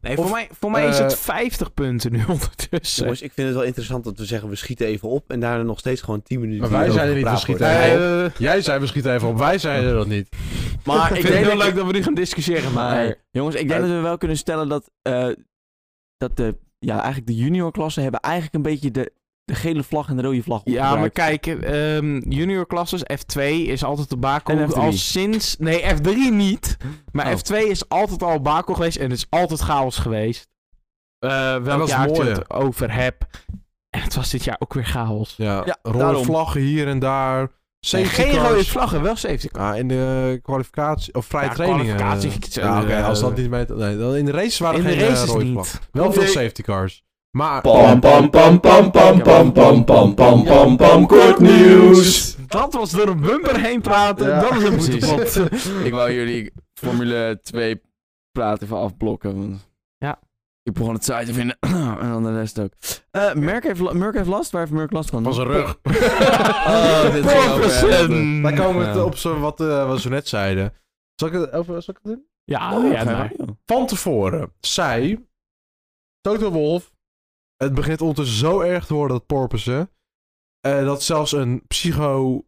S3: Nee,
S2: of,
S3: voor mij, voor mij is
S2: eh,
S3: het 50 punten nu ondertussen.
S4: Jongens, ik vind het wel interessant dat we zeggen we schieten even op en daarna nog steeds gewoon 10 minuten.
S2: Maar wij
S4: hierover
S2: zijn er niet
S4: gepraat
S2: van
S4: wordt.
S2: schieten.
S4: Nee,
S3: eh,
S2: Jij zei misschien even op, wij zeiden dat niet.
S1: Maar
S3: ik
S1: ik
S3: vind
S1: denk
S3: het heel
S1: dat...
S3: leuk dat we nu gaan discussiëren, maar...
S1: Maar, jongens, ik denk dat we wel kunnen stellen dat, eh, dat de, ja, eigenlijk de juniorklassen hebben eigenlijk een beetje de, de gele vlag en de rode vlag
S3: Ja, maar
S1: opgebruikt.
S3: kijk, ehm junior klasses, F2 is altijd de
S1: En
S3: bakel
S1: F3.
S3: al sinds... Nee, F3 niet. Maar
S1: Oh.
S3: F2 is altijd al bakel geweest en het is altijd chaos geweest. Eh
S2: dat
S3: welk
S2: is
S3: jaar ik
S2: mooi,
S3: het over heb. En het was dit jaar ook weer chaos.
S2: Ja,
S1: Ja,
S2: rode
S1: daarom.
S2: vlaggen hier en daar.
S3: En
S2: Safety
S3: geen
S2: cars.
S3: rode vlaggen, wel safety car.
S2: Ja, Ah, in de kwalificatie, of vrije
S3: Ja,
S2: trainingen.
S3: kwalificatie.
S2: Ja, oké,
S3: Eh,
S2: als dat niet mee... Nee, dan in de races waren
S3: In de
S2: geen eh,
S3: races
S2: rode
S3: niet.
S2: vlaggen. Wel veel
S4: Nee.
S2: safety cars. Maar...
S5: Pam pam pam pam pam pam pam pam pam pam pam kort nieuws.
S3: Dat was door een bumper heen praten.
S2: Ja,
S3: dat is een
S1: precies.
S3: boetepot.
S1: Ik wou jullie Formule 2 praten even afblokken. Want
S3: Ja.
S1: Ik begon het saai te vinden. en dan de rest ook. Eh, Merk, heeft, la- Merk heeft last. Waar heeft Merk last van?
S2: Van zijn rug.
S1: Oh, dit ging over
S3: Porpoisen.
S2: Daar komen we
S1: Ja.
S2: het op zo, wat, eh, wat ze net zeiden. Zal ik het, of, zal ik het doen?
S3: Ja, nou,
S1: Oh,
S3: ja,
S1: ga je
S3: maar-
S1: wel.
S2: Van tevoren zei Toto Wolf... Het begint ondertussen zo erg te worden, dat porpoisen... eh, dat zelfs een psycho...
S4: Een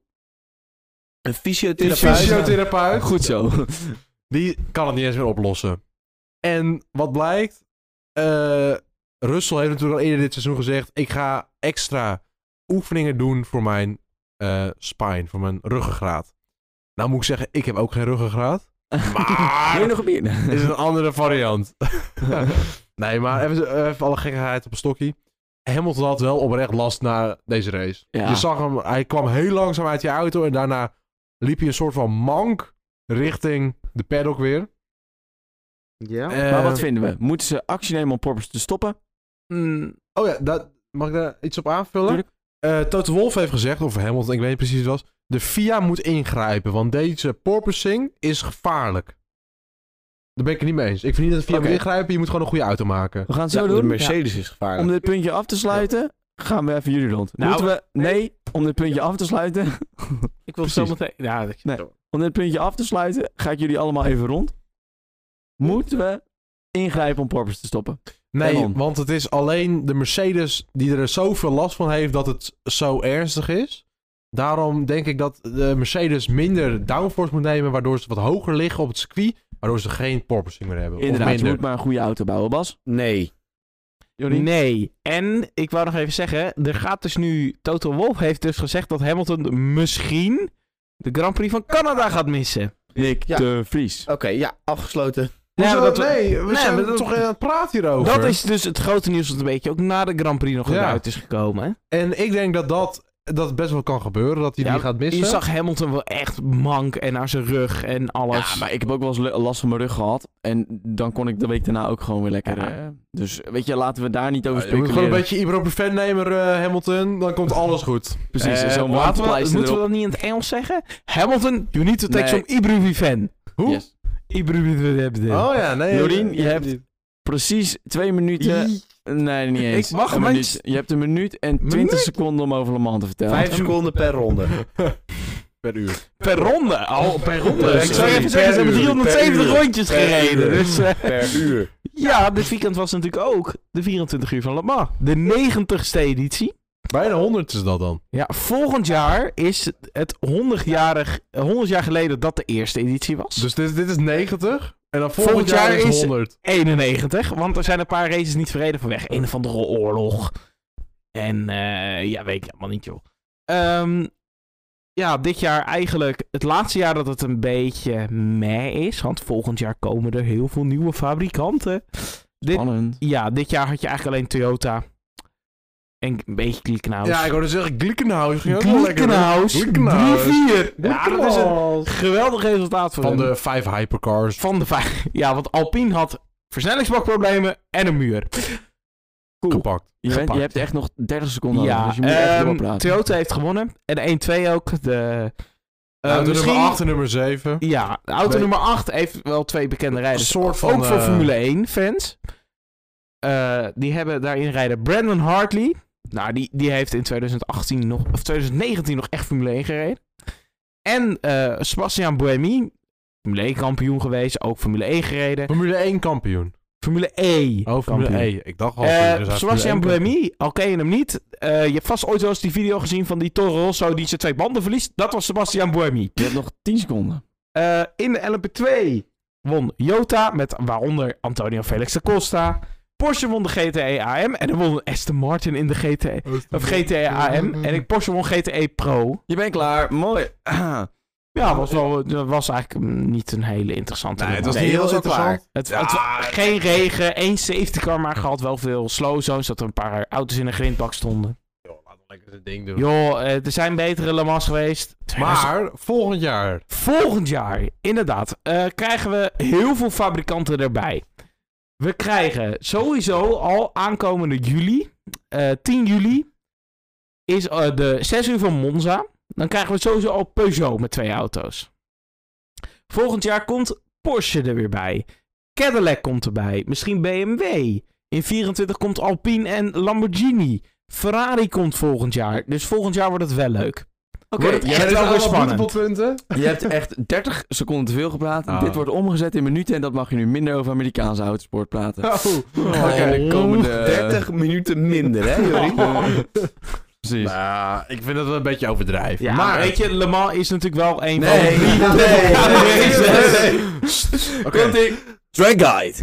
S2: Een
S4: fysiotherapeut.
S2: fysiotherapeut...
S1: Goed zo.
S2: Die kan het niet eens meer oplossen. En wat blijkt? eh Russell heeft natuurlijk al eerder dit seizoen gezegd... ik ga extra oefeningen doen voor mijn eh, spine, voor mijn ruggengraat. Nou moet ik zeggen, ik heb ook geen ruggengraat.
S1: Wil je
S2: Maar
S1: nog een bier?
S2: is een andere variant. nee, maar even, even alle gekkigheid op een stokje. Hamilton had wel oprecht last na deze race.
S1: Ja.
S2: Je zag hem, hij kwam heel langzaam uit die auto en daarna liep hij een soort van mank richting de paddock weer.
S4: Ja.
S2: Eh,
S1: maar wat vinden we? Moeten ze actie nemen om Porpoise te stoppen?
S3: Mm,
S2: Oh ja, dat, mag ik daar iets op aanvullen?
S1: Hmm. Tuurlijk.
S2: Eh, Toto Wolff heeft gezegd, of Hamilton, ik weet niet precies wat het was. De FIA moet ingrijpen, want deze porpoising is gevaarlijk. Daar ben ik het niet mee eens. Ik vind niet dat de FIA
S1: Oké.
S2: moet ingrijpen, je moet gewoon een goede auto maken.
S1: We gaan het
S4: Ja,
S1: zo
S4: de
S1: doen.
S4: Mercedes is
S1: Ja.
S4: gevaarlijk.
S1: Om dit puntje af te sluiten, gaan we even jullie rond.
S3: Nou,
S1: Moeten we... Nee, om dit puntje af te sluiten...
S3: ik wil
S1: Precies.
S3: zo meteen... Ja, dat-
S1: Om dit puntje af te sluiten, ga ik jullie allemaal even rond. Moeten we ingrijpen om porpoise te stoppen?
S2: Nee,
S1: Canon.
S2: want het is alleen de Mercedes die er zoveel last van heeft dat het zo ernstig is. Daarom denk ik dat de Mercedes minder downforce moet nemen, waardoor ze wat hoger liggen op het circuit, waardoor ze geen porpoising meer hebben.
S1: Inderdaad,
S2: of
S1: je moet
S2: minder.
S1: maar een goede auto bouwen, Bas.
S4: Nee.
S1: Jordi?
S3: Nee. En ik wou nog even zeggen, er gaat dus nu. Toto Wolff heeft dus gezegd dat Hamilton misschien de Grand Prix van Canada gaat missen.
S1: Nick
S4: Ja.
S1: de Vries.
S4: Oké, ja, afgesloten.
S2: Hoezo?
S3: Ja, dat we-
S2: nee, we
S3: Nee,
S2: zijn
S3: maar dat-
S2: toch aan het praten hierover.
S3: Dat is dus het grote nieuws dat een beetje ook na de Grand Prix nog
S2: Ja.
S3: uit is gekomen. hè?
S2: En ik denk dat dat, dat best wel kan gebeuren, dat hij
S3: Ja,
S2: die gaat missen.
S3: Je zag Hamilton wel echt mank en aan zijn rug en alles.
S1: Ja, maar ik heb ook wel eens le- last van mijn rug gehad. En dan kon ik de week daarna ook gewoon weer lekker.
S3: Ja.
S1: eh, dus weet je, laten we daar niet over
S2: Ja, je moet gewoon
S1: speculeren.
S2: een beetje ibuprofen nemen, eh, Hamilton, dan komt alles goed.
S1: Precies,
S3: Eh,
S1: zo'n
S3: laten we-
S1: warmtepleister
S3: Moeten we
S1: erop.
S3: dat niet in het Engels zeggen? Hamilton, you need to take
S1: Nee.
S3: some ibuprofen.
S2: Hoe?
S1: Yes.
S3: Ibuprofen.
S2: Oh ja, nee.
S1: Jorien, je
S2: eh,
S1: hebt Precies twee minuten. Nee, niet eens.
S3: Ik mag
S1: een
S3: mijn-
S1: minuut. Je hebt een minuut en twintig
S3: Minuut?
S1: seconden om over Le Mans te vertellen.
S4: Vijf seconden per ronde.
S2: per uur.
S3: Per ronde. Al per ronde.
S4: Dus
S3: ik zou
S4: per
S3: even zeggen, ze hebben
S4: uur,
S3: 370
S4: per uur,
S3: rondjes
S4: per
S3: gereden.
S4: uur.
S3: Dus eh,
S4: Per uur.
S3: ja, dit weekend was natuurlijk ook de 24 uur van Le Mans. De 90ste editie.
S2: Bijna 100 is dat dan.
S3: Ja, volgend jaar is het 100-jarig, 100 jaar geleden dat de eerste editie was.
S2: Dus dit, dit is 90 en dan volgend,
S3: Volgend
S2: jaar,
S3: jaar
S2: is
S3: is-
S2: 100.
S3: 91, want er zijn een paar races niet verreden vanwege een of andere oorlog. En eh, ja, weet ik allemaal niet, joh. Ehm, ja, dit jaar eigenlijk het laatste jaar dat het een beetje meh is. Want volgend jaar komen er heel veel nieuwe fabrikanten. dit-
S1: Spannend.
S3: Ja, dit jaar had je eigenlijk alleen Toyota. En een beetje Klikkenhaus.
S2: Ja, ik wilde zeggen, Glickenhaus ging ook wel lekker.
S3: Klikkenhaus.
S2: Klikkenhaus.
S3: 3-4. Ja, dat is een geweldig resultaat voor
S2: Van
S3: hem.
S2: de vijf hypercars.
S3: Van de vijf. Ja, want Alpine had versnellingsbakproblemen en een muur.
S2: Gepakt.
S1: Je, bent- je
S3: gepakt.
S1: hebt echt nog 30 seconden
S3: ja,
S1: over, dus je moet echt
S3: ehm,
S1: doorpraten.
S3: Toyota heeft gewonnen. En 1-2 ook. De, eh,
S2: Nou,
S3: misschien-
S2: nummer 8 en nummer 7.
S3: Ja, de auto
S2: Nee.
S3: nummer 8 heeft wel twee bekende
S2: Een
S3: rijders.
S2: soort van...
S3: ook voor
S2: eh,
S3: Formule 1 fans. Eh, die hebben daarin rijden Brandon Hartley. Nou, die, die heeft in 2018 nog, of 2019 nog echt Formule 1 gereden. En eh Sebastian Buemi, Formule 1 kampioen geweest, ook Formule 1 gereden.
S2: Formule 1 kampioen.
S3: Formule E.
S2: Oh, Formule
S3: kampioen.
S2: 1. Ik dacht al...
S3: Eh,
S2: Formule 1 is
S3: Sebastian
S2: Formule 1 kampioen.
S3: Buemi, al ken je hem niet. Eh, je hebt vast ooit wel eens die video gezien van die Toro Rosso die zijn twee banden verliest. Dat was Sebastian Buemi.
S1: Je hebt nog 10 seconden.
S3: Eh, in de LMP2 won Jota met waaronder Antonio Felix da Costa. Porsche won de GTE AM en er won een Aston Martin in de GTE. Of GTE AM. En ik Porsche won GTE Pro.
S1: Je bent klaar. Mooi.
S3: Ja, was wel, dat was eigenlijk mm, niet een hele interessante.
S2: Nee, het
S3: nummer.
S2: was niet heel interessant.
S3: Het, het wa- geen regen, één safety car maar gehad, wel veel slow zones, dat er een paar auto's in een grindbak stonden.
S2: Joh, laat hem lekker zijn ding doen.
S3: Joh, eh, er zijn betere Le Mans geweest.
S2: Maar volgend jaar...
S3: Volgend jaar, inderdaad, eh, krijgen we heel veel fabrikanten erbij. We krijgen sowieso al aankomende juli, eh, 10 juli, is eh, de 6 uur van Monza. Dan krijgen we sowieso al Peugeot met twee auto's. Volgend jaar komt Porsche er weer bij. Cadillac komt erbij. Misschien BMW. In 24 komt Alpine en Lamborghini. Ferrari komt volgend jaar. Dus volgend jaar wordt het wel leuk.
S1: Oké,
S3: Wordt het
S1: je,
S3: echt
S1: hebt-
S3: wel weer spannend.
S2: punten.
S1: je hebt echt 30 seconden te veel gepraat.
S2: Ah.
S1: Dit wordt omgezet in minuten en dat mag je nu minder over Amerikaanse autosport praten.
S2: Oh.
S1: Oké, de komende...
S4: 30 minuten minder, hè, Jorien?
S1: Precies.
S2: Nou, ik vind dat wel een beetje overdrijven.
S3: Ja, maar
S2: maar...
S3: weet je, Le Mans is natuurlijk wel een
S4: Nee, nee,
S3: van de
S4: nee, nee,
S3: races.
S4: nee,
S2: Oké.
S4: Drag Guide.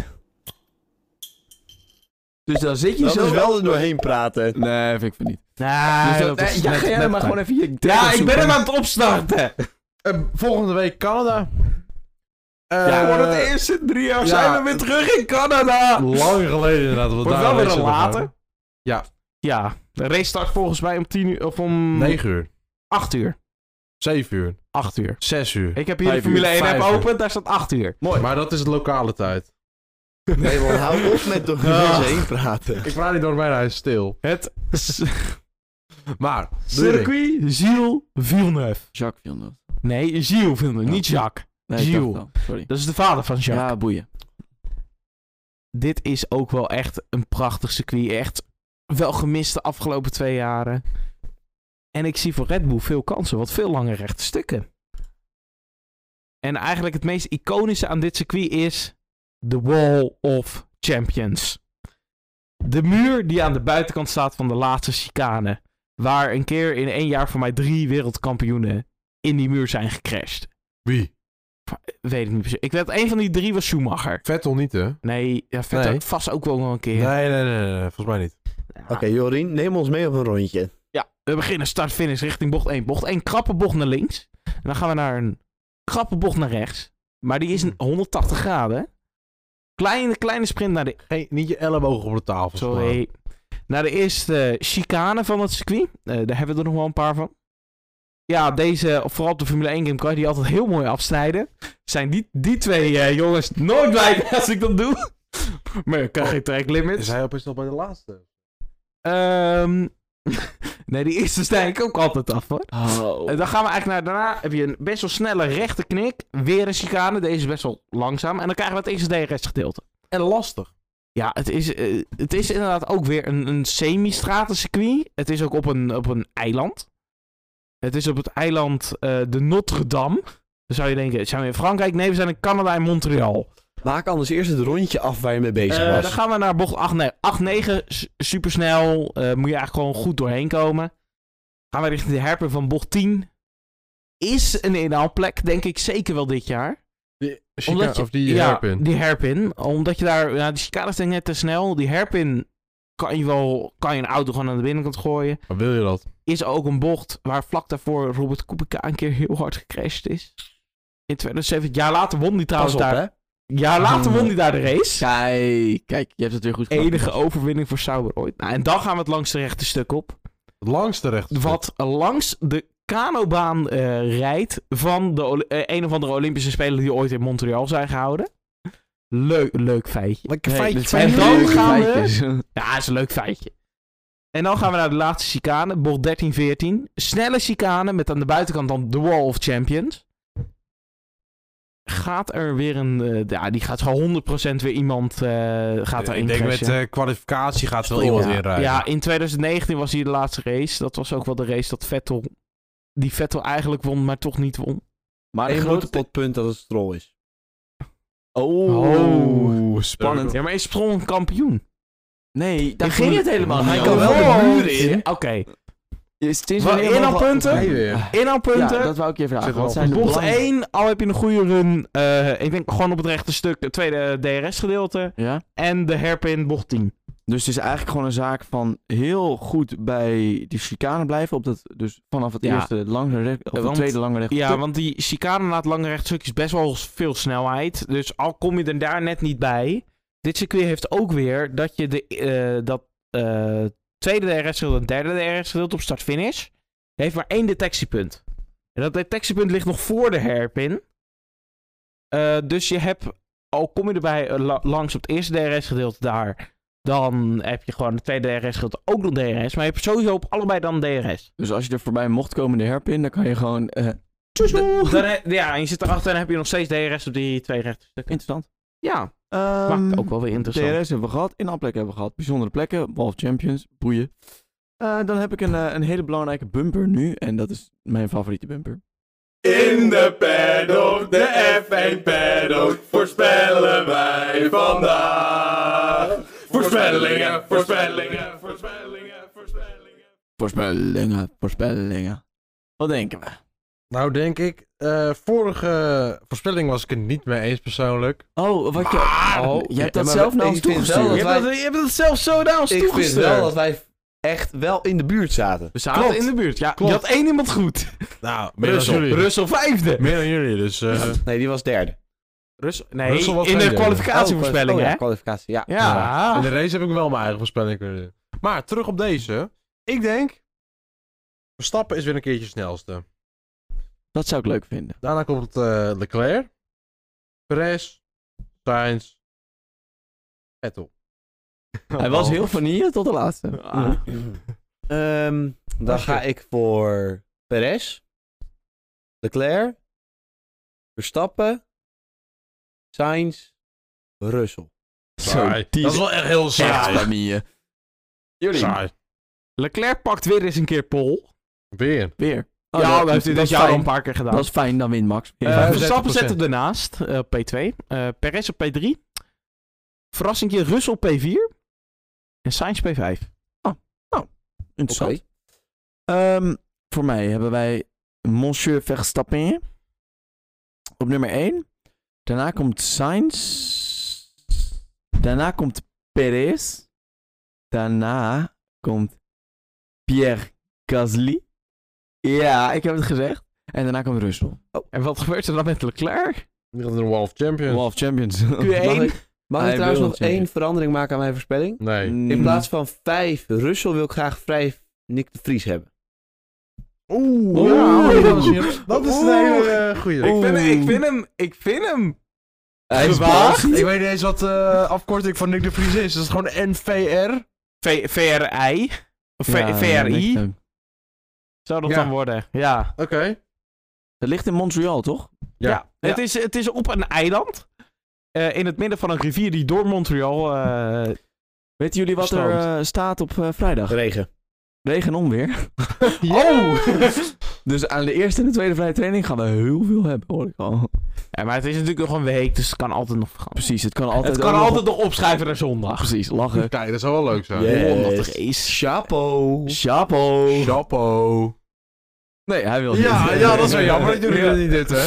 S1: Dus dan zit je
S4: Dat
S1: zo...
S4: is wel er doorheen praten.
S1: Nee, vind ik van niet.
S3: Nee,
S1: Dus dat-
S3: dat is
S1: nee, ja,
S3: net-
S1: ga jij
S3: net
S1: maar
S3: waar.
S1: gewoon even je...
S3: Ja, ik ben hem aan het opstarten.
S2: Eh, volgende week Canada. Eh,
S3: ja, voor het eerste drie jaar
S2: ja.
S3: zijn we weer terug in Canada.
S2: Lang geleden inderdaad. dat we
S3: Wordt
S2: daar
S3: wel weer
S2: race
S3: een
S2: hebben
S3: later.
S2: gedaan. Ja.
S3: Ja, de race start volgens mij om 10 uur of om
S2: 9 Hm. uur,
S3: 8 uur.
S2: 7 uur,
S3: 8 uur.
S2: 6 uur.
S3: Ik heb hier de
S1: Vijf uur,
S3: Formule 1 app
S2: vijf uur.
S3: open, daar staat 8 uur.
S2: Mooi. Maar dat is de lokale tijd.
S4: Nee, man, hou op met door
S3: Ah.
S4: mensen heen praten.
S2: Ik praat niet door mijn huis stil.
S3: Het s-
S2: Maar, doe je ding.
S3: circuit Gilles Villeneuve.
S1: Jacques Villeneuve.
S3: Nee, Gilles Villeneuve,
S1: Ja.
S3: niet Jacques.
S1: Nee, ik dacht
S3: Gilles.
S1: wel. Sorry.
S3: Dat is de vader van Jacques.
S1: Ja, boeien.
S3: dit is ook wel echt een prachtig circuit. Echt wel gemist de afgelopen twee jaren. En ik zie voor Red Bull veel kansen, wat veel lange rechte stukken. En eigenlijk het meest iconische aan dit circuit is de Wall of Champions. De muur die aan de buitenkant staat van de laatste chicane. Waar een keer in één jaar voor mij drie wereldkampioenen in die muur zijn gecrashed.
S2: Wie?
S3: Weet ik niet precies. Ik weet dat één van die drie was Schumacher.
S2: Vettel niet, hè?
S3: Nee, ja, Vettel
S2: Nee.
S3: vast ook wel een keer.
S2: Nee, nee, nee, nee, nee, volgens mij niet.
S3: Ja.
S4: Oké, Jorien, neem ons mee op een rondje.
S3: Ja, we beginnen start-finish richting bocht 1. Bocht 1, krappe bocht naar links. En dan gaan we naar een krappe bocht naar rechts. Maar die
S2: Hmm.
S3: is een 180 graden. Kleine, kleine sprint naar de...
S2: Geen, niet je elleboog op de tafel. slaan.
S3: Sorry. Naar de eerste chicane van het circuit. Eh, daar hebben we er nog wel een paar van. Ja, deze, vooral op de Formule 1 game kan je die altijd heel mooi afsnijden. Zijn die, die twee eh, jongens nooit blij mee als ik dat doe. Maar ik kan geen track limit.
S2: Oh. Is hij opeens nog bij de laatste?
S3: Ehm, nee, die eerste snij ik ook altijd af hoor.
S1: Oh.
S3: En dan gaan we eigenlijk naar daarna. Heb je een best wel snelle rechte knik. Weer een chicane. Deze is best wel langzaam. En dan krijgen we het eerste DRS-gedeelte.
S2: En lastig.
S3: Ja, het is, eh, het is inderdaad ook weer een, een semi-stratencircuit. Het is ook op een, op een eiland. Het is op het eiland eh, de Notre Dame. Dan zou je denken, zijn we in Frankrijk? Nee, we zijn in Canada en Montreal.
S4: Maak anders eerst het rondje af waar je mee bezig
S3: Eh,
S4: was.
S3: dan gaan we naar bocht 8, nee, 8 9. su- Supersnel. eh, moet je eigenlijk gewoon goed doorheen komen. Gaan we richting de herpen van bocht 10. Is een inhaalplek, denk ik zeker wel dit jaar. Omdat je-
S2: of die eh,
S3: ja,
S2: hairpin.
S3: die herpin. Omdat je daar, ja, die chicane is denk ik net te snel. Die herpin kan je wel, kan je een auto gewoon aan de binnenkant gooien.
S2: Maar wil je dat?
S3: Is ook een bocht waar vlak daarvoor Robert Kubica een keer heel hard gecrashed is. In 2007, jaar later won die
S4: Pas
S3: trouwens
S4: op,
S3: daar.
S4: hè.
S3: Jaar later won die daar de race
S1: Kijk, kijk, je hebt het weer goed gedaan.
S3: enige overwinning voor Sauber ooit. Nou, en dan gaan we het langs de rechte stuk op.
S2: Het langste recht.
S3: Wat langs de kanobaan eh, rijdt van de Oli- eh, een of andere Olympische Spelen die ooit in Montreal zijn gehouden. Leuk, leuk feitje.
S2: Lekker
S1: Nee,
S2: feitje.
S1: dit zijn
S3: En dan
S1: leuke
S3: gaan we-
S1: feitjes.
S3: Ja, is een leuk feitje. En dan gaan we naar de laatste chicane, bocht 13-14. Snelle chicane met aan de buitenkant dan de Wall of Champions. Gaat er weer een... eh, ja, die gaat gewoon 100% weer iemand eh gaat
S2: Eh,
S3: erin
S2: Ik denk met
S3: crashen.
S2: eh, kwalificatie gaat wel iemand
S3: ja.
S2: inrijden.
S3: Ja, in 2019 was hij de laatste race. Dat was ook wel de race dat Vettel... Die Vettel eigenlijk won, maar toch niet won.
S1: Maar de
S4: Eén grote
S1: grote...
S4: potpunt dat het strol is.
S1: Oh.
S2: spannend.
S3: Ja, maar hij is sprong een kampioen.
S1: Nee, daar
S3: Ik
S1: ging
S3: vond-
S1: het helemaal
S2: Hij
S1: niet
S2: kan
S1: over.
S2: wel de muur in.
S3: Oké.
S1: Je- sinds
S3: Wat,
S1: wanneer mogen we-
S3: inhaalpunten?
S2: Hij weer.
S1: Ja,
S3: Inhaalpunten.
S1: dat wou ik je vragen.
S2: Zit wel
S1: Wat zijn de
S3: Bocht
S1: belangen-
S3: 1, al heb je een goede run. eh, ik denk gewoon op het rechte stuk, het tweede DRS-gedeelte.
S1: Ja?
S3: En de herpin, bocht 10.
S1: Dus het is eigenlijk gewoon een zaak van heel goed bij die chicane blijven. Op dat, dus vanaf het
S3: Ja.
S1: eerste lange recht, of
S3: Want-
S1: het tweede lange recht.
S3: Ja, want die chicane na het lange rechtstuk is best wel veel snelheid. Dus al kom je er daar net niet bij. Dit circuit heeft ook weer dat je de, eh, dat eh, tweede DRS-gedeelte en derde DRS-gedeelte op start-finish... heeft maar één detectiepunt. En dat detectiepunt ligt nog voor de herpin. Eh, dus je hebt, al kom je erbij eh, la- langs op het eerste DRS-gedeelte daar... dan heb je gewoon het tweede DRS-gedeelte ook nog DRS. Maar je hebt sowieso op allebei dan DRS.
S1: Dus als je er voorbij mocht komen de herpin, dan kan je gewoon... eh,
S3: Dan- dan he- ja, en je zit erachter en heb je nog steeds DRS op die twee rechte stukken.
S1: interessant.
S3: Ja,
S1: Ehm,
S3: maakt ook wel weer interessant.
S1: DRS hebben we gehad, inhaalplekken hebben we gehad, bijzondere plekken, Wolf Champions, boeien. Eh, dan heb ik een, eh, een hele belangrijke bumper nu, en dat is mijn favoriete bumper.
S5: In de paddock, de F1 paddock, voorspellen wij vandaag. Voorspellingen, voorspellingen, voorspellingen, voorspellingen.
S1: Voorspellingen, voorspellingen. Wat denken we?
S2: Nou, denk ik. eh, vorige voorspelling was ik het niet mee eens persoonlijk.
S1: Oh, wat je...
S3: Ah,
S4: Oh,
S1: je hebt dat
S4: maar
S1: zelf naar
S4: ik
S1: ons
S4: vind wel
S1: Nou, toegestuurd.
S4: dat
S3: je,
S4: wij-
S3: hebt dat, je hebt dat zelf zo naar ons
S4: Ik vind
S3: toegestuurd.
S4: wel dat wij echt wel in de buurt zaten.
S3: We zaten
S2: Klopt.
S3: in de buurt. Ja,
S2: Klopt.
S3: je had één iemand goed.
S2: Nou, meer
S3: Russell.
S2: dan jullie.
S3: Russell vijfde.
S2: Meer dan jullie, dus... eh,
S4: Nee, die was derde.
S3: Russell, nee,
S2: Russell was
S3: in de
S2: tweede.
S3: kwalificatievoorspelling,
S4: Oh,
S3: hè?
S4: ja, kwalificatie, ja.
S3: Ja.
S2: In de race heb ik wel mijn eigen voorspelling kunnen doen. Maar terug op deze. Ik denk... Verstappen is weer een keertje snelste.
S1: Dat zou ik leuk vinden.
S2: Daarna komt eh, Leclerc. Perez. Sainz. Vettel.
S1: Hij was heel vanille tot de laatste.
S3: Ah.
S4: Mhm. Ehm, dan ga ik voor Perez, Leclerc, Verstappen, Sainz, Russell.
S2: Saai.
S1: die
S2: Dat is wel echt heel
S1: Echt
S2: saai.
S1: vanille. Jullie,
S2: Saai.
S3: Leclerc pakt weer eens een keer pol.
S2: Weer.
S1: weer.
S3: Oh, ja, dat heeft hij dit
S1: is
S3: jaar al een
S1: fijn.
S3: paar keer gedaan.
S1: Dat is fijn, dan wint Max.
S3: Eh,
S2: Ja,
S3: Verstappen
S2: 35%.
S3: zet hem ernaast eh, op P2. Eh Perez op P3. Verrassingje Russell P4. En Sainz P5.
S1: Interessant. Ehm, voor mij hebben wij Monsieur Verstappen op nummer 1. Daarna komt Sainz. Daarna komt Perez. Daarna komt Pierre Gasly. Ja, ik heb het gezegd. En daarna komt Russell.
S3: En wat gebeurt er dan met Leclerc?
S2: Die gaat naar de Wall of Champions.
S1: Wall of Champions.
S4: Mag
S3: Q1.
S4: ik, mag ik
S1: Hij
S4: trouwens
S1: wil het,
S4: nog
S1: ja.
S4: één verandering maken aan mijn voorspelling?
S2: Nee.
S4: In plaats van vijf Russell wil ik graag vijf Nick de Vries hebben.
S2: Oeh.
S1: Oeh.
S2: Ja, oh, dat is een- dat is een
S3: Oeh.
S2: hele eh, goede.
S1: Oeh.
S3: hem, ik vind hem.
S1: Hij is
S3: Gewaagd.
S1: baas.
S2: Ik weet niet eens wat
S3: eh,
S2: de eh, afkorting van Nick de Vries is. Dat is gewoon NVR.
S3: V- VRI? Of V-
S1: Ja, eh,
S3: VRI?
S1: niks ook.
S3: Zou dat
S2: Ja.
S3: dan worden? Ja.
S2: Oké.
S1: Dat ligt in Montreal, toch?
S2: Ja.
S3: Het, is, het is op een eiland. eh, in het midden van een rivier die door Montreal. eh,
S1: Weten jullie wat er
S3: Verstand.
S1: eh, staat op eh, vrijdag?
S4: Regen.
S1: Regen en onweer.
S3: Oh!
S1: Dus aan de eerste en de tweede vrije training gaan we heel veel hebben, hoor ik al.
S3: Ja, maar het is natuurlijk nog een week, dus het kan altijd nog veranderen.
S1: Precies, het kan altijd...
S3: Het kan
S1: ook nog-
S3: altijd nog opschuiven naar zondag.
S1: Precies, lachen.
S2: Kijk, dat zou wel leuk zijn.
S4: Yes.
S1: is.
S4: Chapeau.
S1: Chapo.
S2: Chapeau.
S1: Nee, hij wil
S2: Ja,
S1: niet.
S2: ja, dat is wel jammer. Dat jullie
S1: Ja.
S2: dat niet dit, hè?
S1: Hey,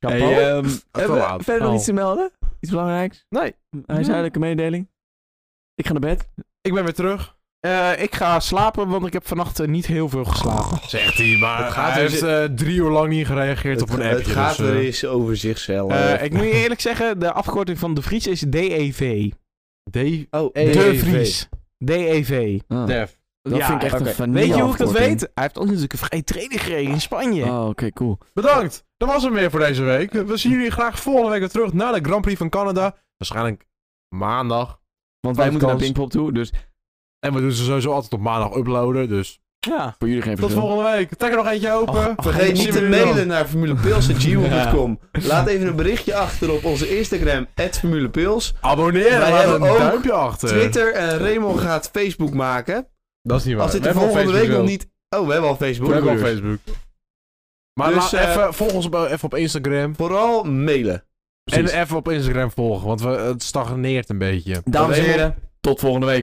S3: Chapeau.
S1: ehm, hebben we
S2: laat.
S1: verder nog
S3: Oh.
S1: iets te melden? Iets belangrijks?
S2: Nee.
S1: Huishoudelijke mededeling? Ik ga naar bed.
S2: Ik ben weer terug.
S3: Eh, ik ga slapen, want ik heb vannacht eh, niet heel veel geslapen.
S2: Zegt hij, maar
S4: Het gaat
S2: hij
S4: dus-
S2: heeft eh, drie uur lang niet gereageerd op
S4: Het,
S2: een
S4: het
S2: appje.
S4: gaat
S2: dus, eh,
S4: er eens over zichzelf.
S3: Eh, ik moet je eerlijk zeggen, de afkorting van De Vries is E DEV.
S2: D-
S4: oh,
S1: E
S3: De Vries. DEV.
S1: Ah,
S2: Def.
S1: dat
S3: Ja,
S1: vind ik echt
S3: oké.
S1: een vanille
S3: E Weet je hoe ik dat
S1: afkorting.
S3: weet? Hij heeft ook natuurlijk een vrije training gekregen in Spanje.
S1: Oh, oké, cool.
S2: Bedankt. Dat was hem weer voor deze week. We zien jullie graag volgende week weer terug na de Grand Prix van Canada. Waarschijnlijk maandag.
S1: Want wij
S2: Podcast.
S1: moeten naar Pinkpop toe, dus
S2: En we doen ze sowieso altijd op maandag uploaden. Dus Oh,
S3: Ja.
S1: voor jullie geen
S2: tot
S1: verschil.
S2: volgende week. Trek er nog eentje open.
S4: Vergeet niet te mailen naar formulepils.gmail.com. Laat even een berichtje achter op onze Instagram, formulepils.
S2: Abonneren.
S4: Wij
S2: Laat een
S4: hebben ook
S2: duimpje achter.
S4: Twitter en Raymond gaat Facebook maken.
S2: Dat is niet waar.
S4: Als dit
S2: We
S4: er
S2: hebben al
S4: volgende week
S2: Facebook.
S4: nog niet... Oh, we hebben al
S2: We hebben al
S4: Facebook.
S2: Facebook. Maar laat
S4: Dus, eh,
S2: even, volg ons op, even op Instagram.
S4: Vooral mailen.
S2: En even op Instagram volgen, want we, het stagneert een beetje.
S1: Dames en heren, tot volgende week.